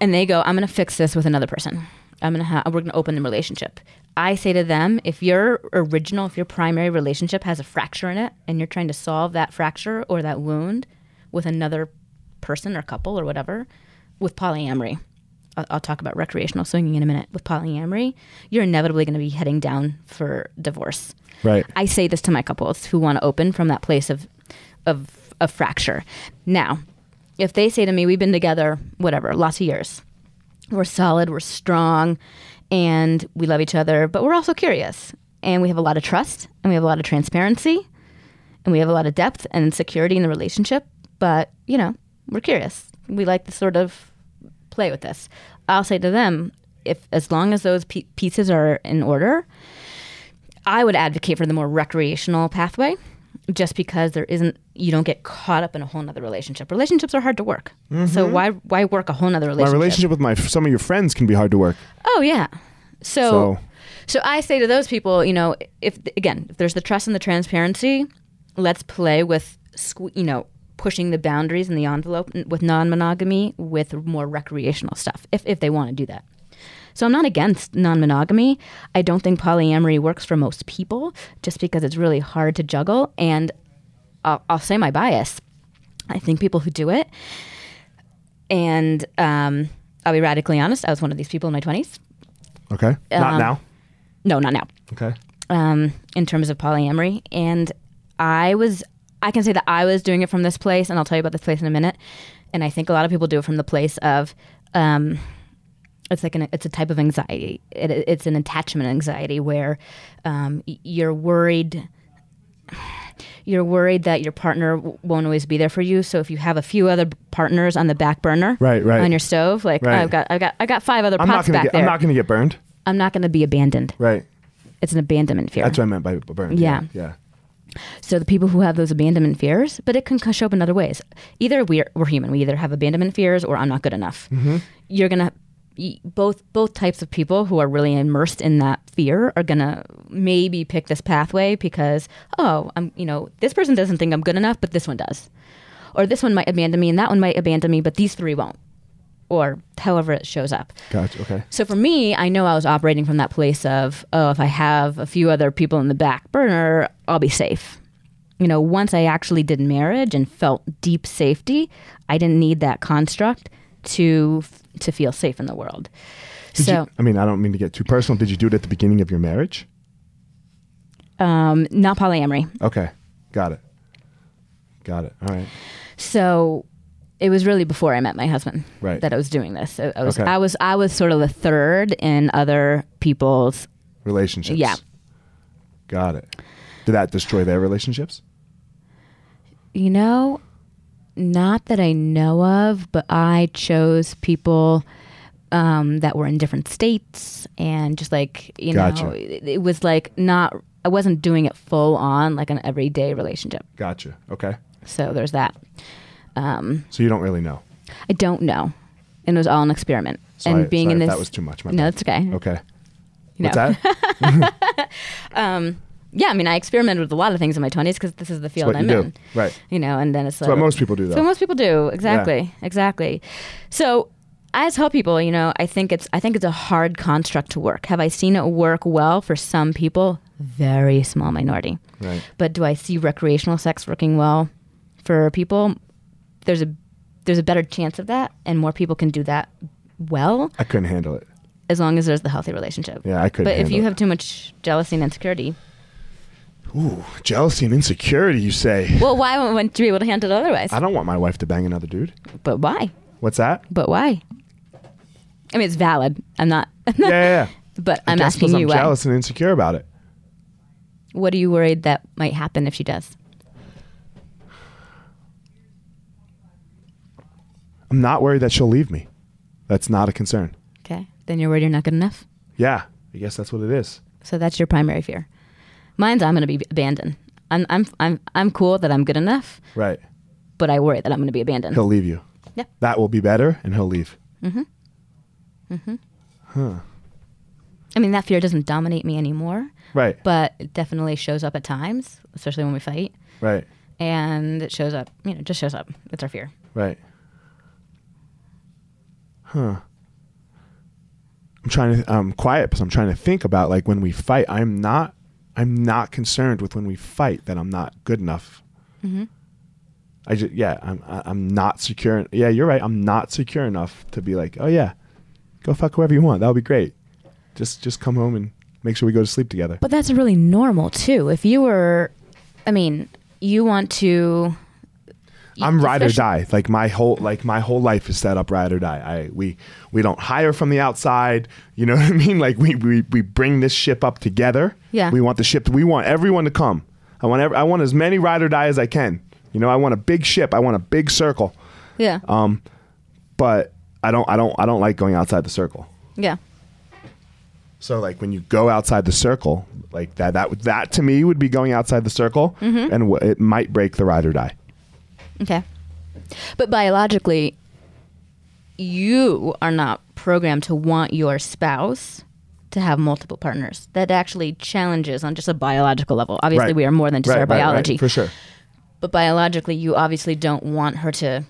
Speaker 2: and they go, "I'm going to fix this with another person. I'm going to ha- we're going to open the relationship." I say to them, "If your original, if your primary relationship has a fracture in it, and you're trying to solve that fracture or that wound with another person or couple or whatever, with polyamory." I'll, I'll talk about recreational swinging in a minute. With polyamory, you're inevitably going to be heading down for divorce.
Speaker 1: Right.
Speaker 2: I say this to my couples who want to open from that place of of of fracture. Now, if they say to me, "We've been together, whatever, lots of years. We're solid, we're strong, and we love each other, but we're also curious, and we have a lot of trust, and we have a lot of transparency, and we have a lot of depth and security in the relationship, but you know, we're curious. We like to sort of play with this." I'll say to them, if as long as those pe- pieces are in order, I would advocate for the more recreational pathway just because there isn't you don't get caught up in a whole nother relationship. Relationships are hard to work. So why why work a whole nother
Speaker 1: My
Speaker 2: relationship?
Speaker 1: relationship with my some of your friends can be hard to work.
Speaker 2: Oh yeah. So,
Speaker 1: So-
Speaker 2: so I say to those people, you know, if again, if there's the trust and the transparency, let's play with sque- you know, pushing the boundaries and the envelope n- with non-monogamy with more recreational stuff if if they want to do that. So I'm not against non-monogamy. I don't think polyamory works for most people just because it's really hard to juggle and I'll, I'll say my bias. I think people who do it and um, I'll be radically honest, I was one of these people in my 20s.
Speaker 1: Okay. Not
Speaker 2: Um,
Speaker 1: now.
Speaker 2: No, not now.
Speaker 1: Okay.
Speaker 2: Um, in terms of polyamory, and I was, I can say that I was doing it from this place, and I'll tell you about this place in a minute. And I think a lot of people do it from the place of, um, it's like an, it's a type of anxiety. It, it's an attachment anxiety where um, y- you're worried. You're worried that your partner w- won't always be there for you. So if you have a few other partners on the back burner,
Speaker 1: Right, right.
Speaker 2: on your stove, like
Speaker 1: Right.
Speaker 2: I've got, I've got, I got five other
Speaker 1: I'm not
Speaker 2: pots
Speaker 1: gonna
Speaker 2: back
Speaker 1: get.
Speaker 2: there.
Speaker 1: I'm not gonna get burned.
Speaker 2: going to be abandoned.
Speaker 1: Right.
Speaker 2: It's an abandonment fear.
Speaker 1: That's what I meant by burned.
Speaker 2: Yeah.
Speaker 1: Yeah.
Speaker 2: So the people who have those abandonment fears, but it can show up in other ways. Either we're, we're human. We either have abandonment fears or I'm not good enough. You're gonna y- both both types of people who are really immersed in that fear are gonna maybe pick this pathway because oh I'm you know this person doesn't think I'm good enough, but this one does, or this one might abandon me and that one might abandon me, but these three won't, or however it shows up.
Speaker 1: Gotcha. Okay.
Speaker 2: So for me, I know I was operating from that place of, oh, if I have a few other people in the back burner, I'll be safe. You know, once I actually did marriage and felt deep safety, I didn't need that construct to to feel safe in the world.
Speaker 1: Did
Speaker 2: so
Speaker 1: you, I mean, I don't mean to get too personal. Did you do it at the beginning of your marriage?
Speaker 2: um, not polyamory.
Speaker 1: Okay. Got it. Got it. All right.
Speaker 2: So it was really before I met my husband
Speaker 1: Right.
Speaker 2: that I was doing this. I, I was
Speaker 1: Okay.
Speaker 2: I was I was sort of the third in other people's
Speaker 1: Relationships.
Speaker 2: Yeah.
Speaker 1: Got it. Did that destroy their relationships?
Speaker 2: You know, not that I know of, but I chose people um, that were in different states and just like, you know,
Speaker 1: Gotcha.
Speaker 2: it, it was like not, I wasn't doing it full on like an everyday relationship.
Speaker 1: Gotcha. Okay.
Speaker 2: So there's that. Um,
Speaker 1: So you don't really know.
Speaker 2: I don't know. And it was all an experiment.
Speaker 1: Sorry-
Speaker 2: and being
Speaker 1: sorry
Speaker 2: in
Speaker 1: if
Speaker 2: this,
Speaker 1: that was too much, my
Speaker 2: no,
Speaker 1: bad. Oh.
Speaker 2: it's okay.
Speaker 1: Okay.
Speaker 2: You
Speaker 1: What's
Speaker 2: know.
Speaker 1: that?
Speaker 2: Yeah, I mean, I experimented with a lot of things in my twenties because this is the field
Speaker 1: what
Speaker 2: I'm
Speaker 1: you do.
Speaker 2: in,
Speaker 1: Right.
Speaker 2: You know, and then it's
Speaker 1: That's what most people do,
Speaker 2: So
Speaker 1: though.
Speaker 2: most people do exactly, exactly. So I tell people, you know, I think it's I think it's a hard construct to work. Have I seen it work well for some people? Very small minority.
Speaker 1: Right.
Speaker 2: But do I see recreational sex working well for people? There's a there's a better chance of that, and more people can do that well
Speaker 1: I couldn't handle it.
Speaker 2: as long as there's the healthy relationship.
Speaker 1: Yeah, I couldn't.
Speaker 2: But if
Speaker 1: handle
Speaker 2: you
Speaker 1: it.
Speaker 2: have too much jealousy and insecurity,
Speaker 1: Ooh, jealousy and insecurity, you say.
Speaker 2: well, why wouldn't you be able to handle it otherwise?
Speaker 1: I don't want my wife to bang another dude.
Speaker 2: But why?
Speaker 1: What's that?
Speaker 2: But why? I mean, it's valid. I'm not,
Speaker 1: Yeah, yeah. yeah.
Speaker 2: but
Speaker 1: I
Speaker 2: I'm
Speaker 1: guess 'cause
Speaker 2: asking you
Speaker 1: I'm
Speaker 2: why.
Speaker 1: jealous and insecure about it.
Speaker 2: What are you worried that might happen if she does?
Speaker 1: I'm not worried that she'll leave me. That's not a concern.
Speaker 2: Okay. Then you're worried you're not good enough.
Speaker 1: Yeah, I guess that's what it is.
Speaker 2: So that's your primary fear. Mine's I'm going to be abandoned. I'm, I'm, I'm, I'm cool that I'm good enough,
Speaker 1: Right.
Speaker 2: but I worry that I'm going to be abandoned.
Speaker 1: He'll leave you.
Speaker 2: Yeah.
Speaker 1: That will be better, and he'll leave.
Speaker 2: I mean, that fear doesn't dominate me anymore,
Speaker 1: Right.
Speaker 2: but it definitely shows up at times, especially when we fight.
Speaker 1: right.
Speaker 2: And it shows up, you know, just shows up. It's our fear.
Speaker 1: Right. I'm trying to I'm quiet because I'm trying to think about like when we fight. I'm not I'm not concerned with when we fight that I'm not good enough. I just yeah I'm I- I'm not secure. Yeah, you're right. I'm not secure enough to be like oh yeah, go fuck whoever you want. That'll be great. Just just come home and make sure we go to sleep together.
Speaker 3: But that's really normal too. If you were, I mean, you want to.
Speaker 1: I'm ride or
Speaker 3: especially-
Speaker 1: die. Like my whole like my whole life is set up ride or die. I we we don't hire from the outside. You know what I mean? Like we we, we bring this ship up together.
Speaker 2: Yeah.
Speaker 1: We want the ship. We want everyone to come. I want ev- I want as many ride or die as I can. You know I want a big ship. I want a big circle.
Speaker 2: Yeah.
Speaker 1: Um, But I don't I don't I don't like going outside the circle.
Speaker 2: yeah.
Speaker 1: So like when you go outside the circle, like that that would- that to me would be going outside the circle,
Speaker 2: Mm-hmm.
Speaker 1: and w- it might break the ride or die.
Speaker 2: Okay. But biologically, you are not programmed to want your spouse to have multiple partners. That actually challenges on just a biological level. Obviously, we are more than just
Speaker 1: Right,
Speaker 2: our
Speaker 1: right, right,
Speaker 2: biology.
Speaker 1: for sure.
Speaker 2: But biologically, you obviously don't want her to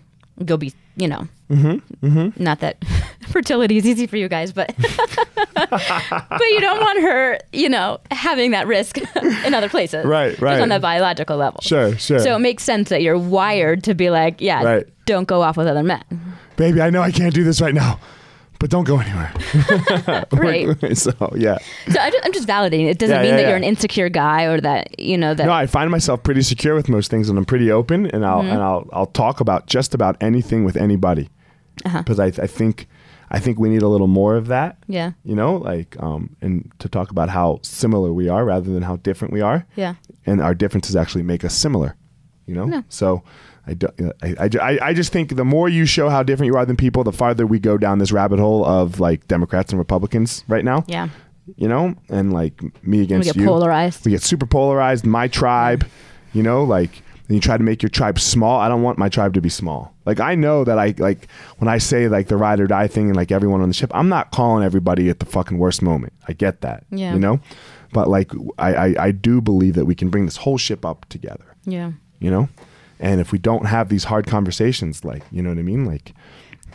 Speaker 2: go be, you know. Mm-hmm. Not that fertility is easy for you guys, but but you don't want her, you know, having that risk in other places.
Speaker 1: Right,
Speaker 2: Just
Speaker 1: right.
Speaker 2: on that biological level.
Speaker 1: Sure, sure.
Speaker 2: So it makes sense that you're wired to be like, yeah,
Speaker 1: Right.
Speaker 2: don't go off with other men.
Speaker 1: baby, I know I can't do this right now, but don't go anywhere.
Speaker 2: Right.
Speaker 1: so yeah,
Speaker 2: so I just, I'm just validating. It doesn't
Speaker 1: Yeah,
Speaker 2: mean
Speaker 1: yeah,
Speaker 2: that
Speaker 1: yeah.
Speaker 2: you're an insecure guy or that, you know, that.
Speaker 1: no, I find myself pretty secure with most things, and I'm pretty open, and
Speaker 2: Mm-hmm.
Speaker 1: I'll and I'll I'll talk about just about anything with anybody,
Speaker 2: Uh-huh.
Speaker 1: because I I think I think we need a little more of that.
Speaker 2: yeah.
Speaker 1: You know, like um, and to talk about how similar we are rather than how different we are.
Speaker 2: Yeah.
Speaker 1: and our differences actually make us similar. You know, so I, do, I, I, ju- I- I just think the more you show how different you are than people, the farther we go down this rabbit hole of like Democrats and Republicans right now.
Speaker 2: Yeah.
Speaker 1: you know, and like me against
Speaker 2: get
Speaker 1: you.
Speaker 2: polarized.
Speaker 1: We get super polarized. My tribe, you know, like and you try to make your tribe small. I don't want my tribe to be small. Like I know that I like when I say like the ride or die thing and like everyone on the ship. I'm not calling everybody at the fucking worst moment. I get that.
Speaker 2: Yeah.
Speaker 1: You know, but like I I, I do believe that we can bring this whole ship up together
Speaker 2: Yeah.
Speaker 1: you know and if we don't have these hard conversations like you know what i mean like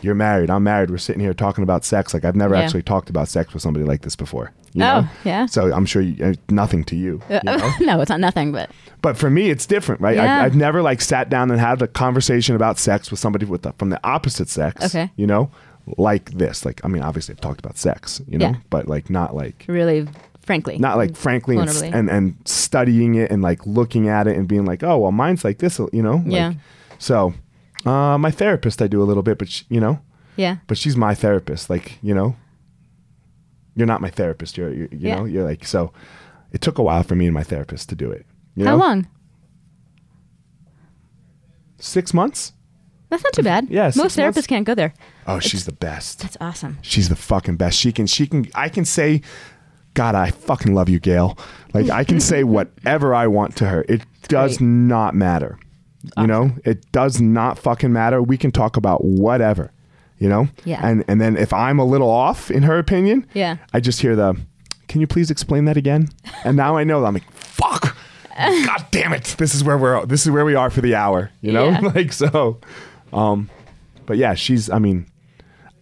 Speaker 1: you're married i'm married we're sitting here talking about sex like i've never
Speaker 2: Yeah.
Speaker 1: actually talked about sex with somebody like this before you
Speaker 2: Oh,
Speaker 1: know?
Speaker 2: yeah.
Speaker 1: so i'm sure you, uh, nothing to you, you know?
Speaker 2: no, it's not nothing, but
Speaker 1: but for me it's different right
Speaker 2: Yeah.
Speaker 1: I, i've never like sat down and had a conversation about sex with somebody with the, from the opposite sex
Speaker 2: Okay.
Speaker 1: you know like this like i mean obviously i've talked about sex you know
Speaker 2: Yeah.
Speaker 1: but like not like
Speaker 2: really, frankly.
Speaker 1: not like frankly and,
Speaker 2: Vulnerably.
Speaker 1: and and studying it and like looking at it and being like oh well mine's like this you know like-
Speaker 2: Yeah.
Speaker 1: so uh my therapist i do a little bit but sh you know
Speaker 2: Yeah.
Speaker 1: but she's my therapist like you know you're not my therapist you're, you're you
Speaker 2: Yeah.
Speaker 1: know you're like so it took a while for me and my therapist to do it you
Speaker 2: How
Speaker 1: know?
Speaker 2: long?
Speaker 1: six months
Speaker 2: That's not too bad.
Speaker 1: Yeah, six
Speaker 2: Most
Speaker 1: months.
Speaker 2: therapists can't go there.
Speaker 1: oh she's the best
Speaker 2: That's awesome.
Speaker 1: She's the fucking best. She can she can I can say God, I fucking love you, Gail. Like I can say whatever I want to her. It does
Speaker 2: great.
Speaker 1: not matter. You know? It does not fucking matter. We can talk about whatever. You know?
Speaker 2: Yeah.
Speaker 1: And and then if I'm a little off in her opinion,
Speaker 2: Yeah.
Speaker 1: I just hear the can you please explain that again? And now I know that I'm like, fuck. God damn it. This is where we're this is where we are for the hour. You know?
Speaker 2: Yeah.
Speaker 1: Like so um but yeah, she's I mean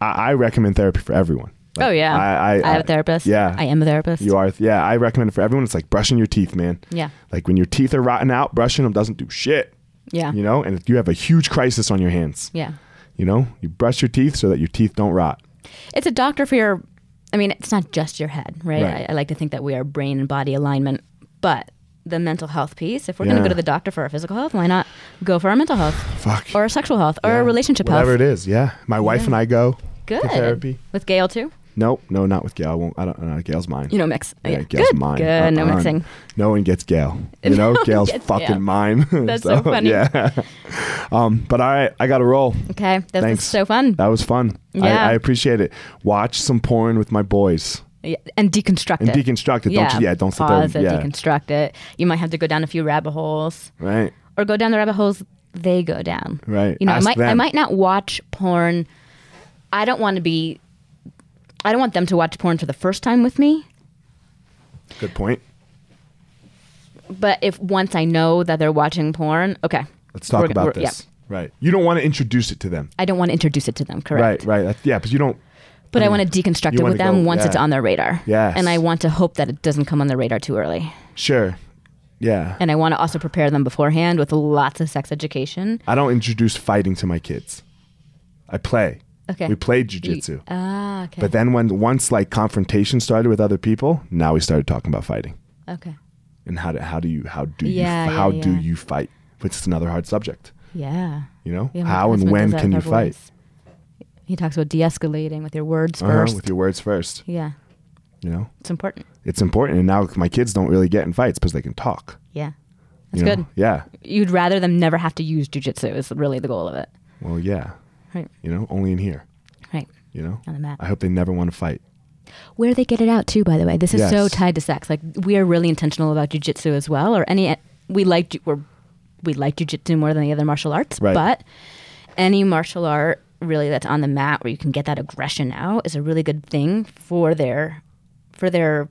Speaker 1: I, I recommend therapy for everyone. Like,
Speaker 2: oh yeah.
Speaker 1: I, I,
Speaker 2: have a therapist.
Speaker 1: Yeah,
Speaker 2: I am a therapist.
Speaker 1: You are. Yeah, I recommend it for everyone. It's like brushing your teeth, man.
Speaker 2: Yeah.
Speaker 1: Like when your teeth are rotting out, brushing them doesn't do shit.
Speaker 2: Yeah.
Speaker 1: You know, and if you have a huge crisis on your hands,
Speaker 2: Yeah.
Speaker 1: you know, you brush your teeth so that your teeth don't rot.
Speaker 2: It's a doctor for your I mean, it's not just your head, right?
Speaker 1: Right.
Speaker 2: I, I like to think that we are brain and body alignment, but the mental health piece, if we're gonna
Speaker 1: Yeah.
Speaker 2: go to the doctor for our physical health, why not go for our mental health?
Speaker 1: Fuck.
Speaker 2: Or our sexual health or our relationship
Speaker 1: Whatever
Speaker 2: health.
Speaker 1: it is, yeah. My wife and I go
Speaker 2: Good.
Speaker 1: to therapy.
Speaker 2: With Gail too?
Speaker 1: Nope, no, not with Gail. I won't. I don't. Uh, Gail's mine.
Speaker 2: You know mix.
Speaker 1: yeah,
Speaker 2: Yeah.
Speaker 1: Gail's
Speaker 2: Good.
Speaker 1: mine.
Speaker 2: Good, no
Speaker 1: Uh-uh.
Speaker 2: mixing.
Speaker 1: No one gets Gail. You know,
Speaker 2: one
Speaker 1: Gail's
Speaker 2: gets
Speaker 1: fucking
Speaker 2: Gail.
Speaker 1: mine.
Speaker 2: That's so funny.
Speaker 1: Yeah. um, but all right, I got to roll.
Speaker 2: Okay. That was
Speaker 1: Thanks.
Speaker 2: so fun.
Speaker 1: That was fun.
Speaker 2: Yeah.
Speaker 1: I, I appreciate it. Watch some porn with my boys
Speaker 2: Yeah, and deconstruct
Speaker 1: and
Speaker 2: it.
Speaker 1: deconstruct it.
Speaker 2: yeah,
Speaker 1: Don't you? Yeah, don't sit
Speaker 2: pause
Speaker 1: there.
Speaker 2: it,
Speaker 1: yeah,
Speaker 2: deconstruct it. You might have to go down a few rabbit holes.
Speaker 1: right,
Speaker 2: or go down the rabbit holes they go down.
Speaker 1: Right.
Speaker 2: You know,
Speaker 1: Ask
Speaker 2: I might I
Speaker 1: them.
Speaker 2: might not watch porn. I don't want to be I don't want them to watch porn for the first time with me,
Speaker 1: good point.
Speaker 2: but if once I know that they're watching porn, okay.
Speaker 1: Let's talk
Speaker 2: We're-
Speaker 1: about
Speaker 2: we're- yeah.
Speaker 1: this. Right. You don't want to introduce it to them.
Speaker 2: I don't want to introduce it to them, correct?
Speaker 1: Right. Right. That's- yeah, because you don't.
Speaker 2: But I want to deconstruct
Speaker 1: you
Speaker 2: it
Speaker 1: wanna
Speaker 2: with them
Speaker 1: go-
Speaker 2: once it's
Speaker 1: yeah.
Speaker 2: on their radar.
Speaker 1: Yes.
Speaker 2: And I want to hope that it doesn't come on their radar too early.
Speaker 1: Sure. Yeah.
Speaker 2: And I want to also prepare them beforehand with lots of sex education.
Speaker 1: I don't introduce fighting to my kids. I play.
Speaker 2: Okay.
Speaker 1: We played jujitsu.
Speaker 2: Ah, okay.
Speaker 1: But then when once like confrontation started with other people, now we started talking about fighting
Speaker 2: okay.
Speaker 1: and how do how do you how do
Speaker 2: Yeah,
Speaker 1: you
Speaker 2: yeah,
Speaker 1: how do
Speaker 2: yeah.
Speaker 1: you fight? Which is another hard subject.
Speaker 2: Yeah.
Speaker 1: You know
Speaker 2: Yeah, my
Speaker 1: how and
Speaker 2: husband
Speaker 1: when
Speaker 2: does that
Speaker 1: can you
Speaker 2: with our
Speaker 1: fight?
Speaker 2: boys. He talks about de-escalating with your words
Speaker 1: Uh-huh,
Speaker 2: 1st
Speaker 1: with your words first.
Speaker 2: yeah,
Speaker 1: You know
Speaker 2: it's important.
Speaker 1: it's important. And now my kids don't really get in fights because they can talk.
Speaker 2: Yeah,
Speaker 1: you
Speaker 2: that's
Speaker 1: know?
Speaker 2: good.
Speaker 1: Yeah.
Speaker 2: You'd rather them never have to use jujitsu. Is really the goal of it,
Speaker 1: Well, yeah.
Speaker 2: right?
Speaker 1: You know, only in here.
Speaker 2: Right.
Speaker 1: You know,
Speaker 2: On the map.
Speaker 1: I hope they never want to fight.
Speaker 2: Where they get it out too, by the way. This is so
Speaker 1: Yes.
Speaker 2: tied to sex. Like we are really intentional about jujitsu as well, or any. We like ju- we're, we like jujitsu more than the other martial arts,
Speaker 1: Right.
Speaker 2: but any martial art really that's on the mat where you can get that aggression out is a really good thing for their for their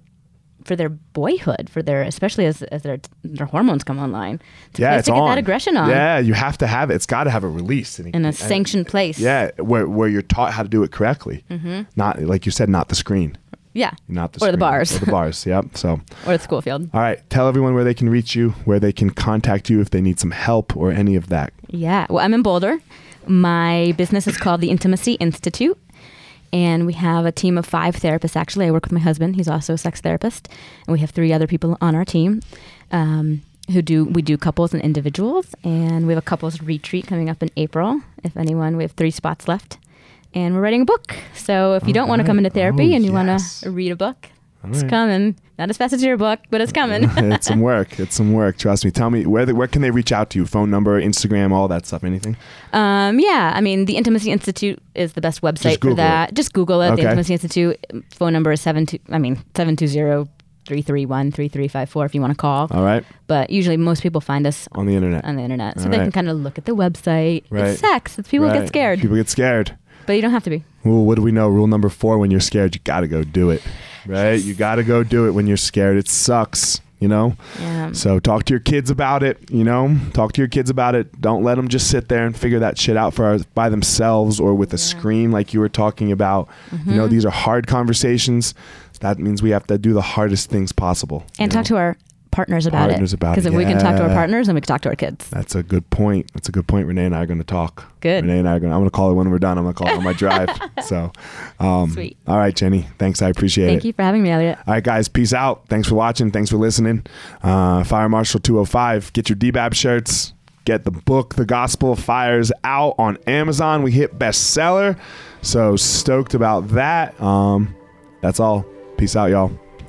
Speaker 2: for their boyhood for their especially as, as their their hormones come online it's a
Speaker 1: Yeah,
Speaker 2: place
Speaker 1: it's
Speaker 2: to get
Speaker 1: on.
Speaker 2: that aggression on
Speaker 1: Yeah, you have to have it. It's got to have a release. And it-
Speaker 2: in a
Speaker 1: and-
Speaker 2: sanctioned place
Speaker 1: Yeah, where, where you're taught how to do it correctly. Mm-hmm. Not like you said, not the screen,
Speaker 2: yeah
Speaker 1: not the
Speaker 2: or the
Speaker 1: screen.
Speaker 2: bars
Speaker 1: or the bars. Yep. So,
Speaker 2: or the school field
Speaker 1: all right, tell everyone where they can reach you, where they can contact you if they need some help or any of that.
Speaker 2: Yeah. Well, I'm in Boulder. My business is called the Intimacy Institute. And we have a team of five therapists. Actually, I work with my husband. He's also a sex therapist. And we have three other people on our team um, who do, we do couples and individuals. And we have a couples retreat coming up in April. If anyone, we have three spots left. And we're writing a book. So if you don't want to
Speaker 1: right.
Speaker 2: come into therapy
Speaker 1: Oh,
Speaker 2: and you
Speaker 1: yes.
Speaker 2: want to read a book,
Speaker 1: All
Speaker 2: it's
Speaker 1: right.
Speaker 2: coming. Not as fast as your book, but it's coming.
Speaker 1: it's some work. It's some work. Trust me. Tell me where they, where can they reach out to you? Phone number, Instagram, all that stuff. Anything?
Speaker 2: Um, yeah, I mean, the Intimacy Institute is the best website for
Speaker 1: Google
Speaker 2: that. Just Google it.
Speaker 1: Okay.
Speaker 2: The Intimacy Institute phone number is seven two. I mean, seven two zero three three one three three five four. If you want to call,
Speaker 1: All right,
Speaker 2: but usually most people find us
Speaker 1: on the internet.
Speaker 2: on the internet, so
Speaker 1: All
Speaker 2: they
Speaker 1: right.
Speaker 2: can kind of look at the website.
Speaker 1: Right.
Speaker 2: It's sex. It's people
Speaker 1: Right.
Speaker 2: get scared,
Speaker 1: People get scared.
Speaker 2: but you don't have to be.
Speaker 1: Well, what do we know? Rule number four: When you're scared, you gotta go do it. Right? You gotta go do it when you're scared. It sucks. You know.
Speaker 2: Yeah.
Speaker 1: So talk to your kids about it. You know, talk to your kids about it. Don't let them just sit there and figure that shit out for by themselves or with a screen like you were talking about. You
Speaker 2: Mm-hmm.
Speaker 1: know, these are hard conversations. That means we have to do the hardest things possible.
Speaker 2: and
Speaker 1: you
Speaker 2: talk
Speaker 1: know?
Speaker 2: to our partners about
Speaker 1: Partners
Speaker 2: it.
Speaker 1: about
Speaker 2: Because
Speaker 1: it,
Speaker 2: if we can talk to our
Speaker 1: yeah.
Speaker 2: partners, then we can talk to our kids.
Speaker 1: That's a good point. That's a good point. Renee and I are going to talk.
Speaker 2: Good.
Speaker 1: Renee and I are going. to I'm going to call her when we're done. I'm going to call her on my drive. So, um,
Speaker 2: Sweet.
Speaker 1: All right, Jenny. Thanks. I appreciate it.
Speaker 2: Thank you for having me, Elliot.
Speaker 1: All right, guys. Peace out. Thanks for watching. Thanks for listening. Uh, Fire Marshal 205. Get your DBAB shirts. Get the book, The Gospel of Fires, out on Amazon. We hit bestseller. So stoked about that. Um, that's all. Peace out, y'all.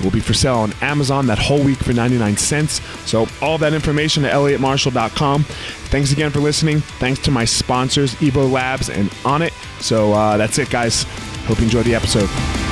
Speaker 1: It will be for sale on Amazon that whole week for 99 cents. So, all that information at elliottmarshall.com. Thanks again for listening. Thanks to my sponsors, Evo Labs and Onnit. So, uh, that's it, guys. Hope you enjoyed the episode.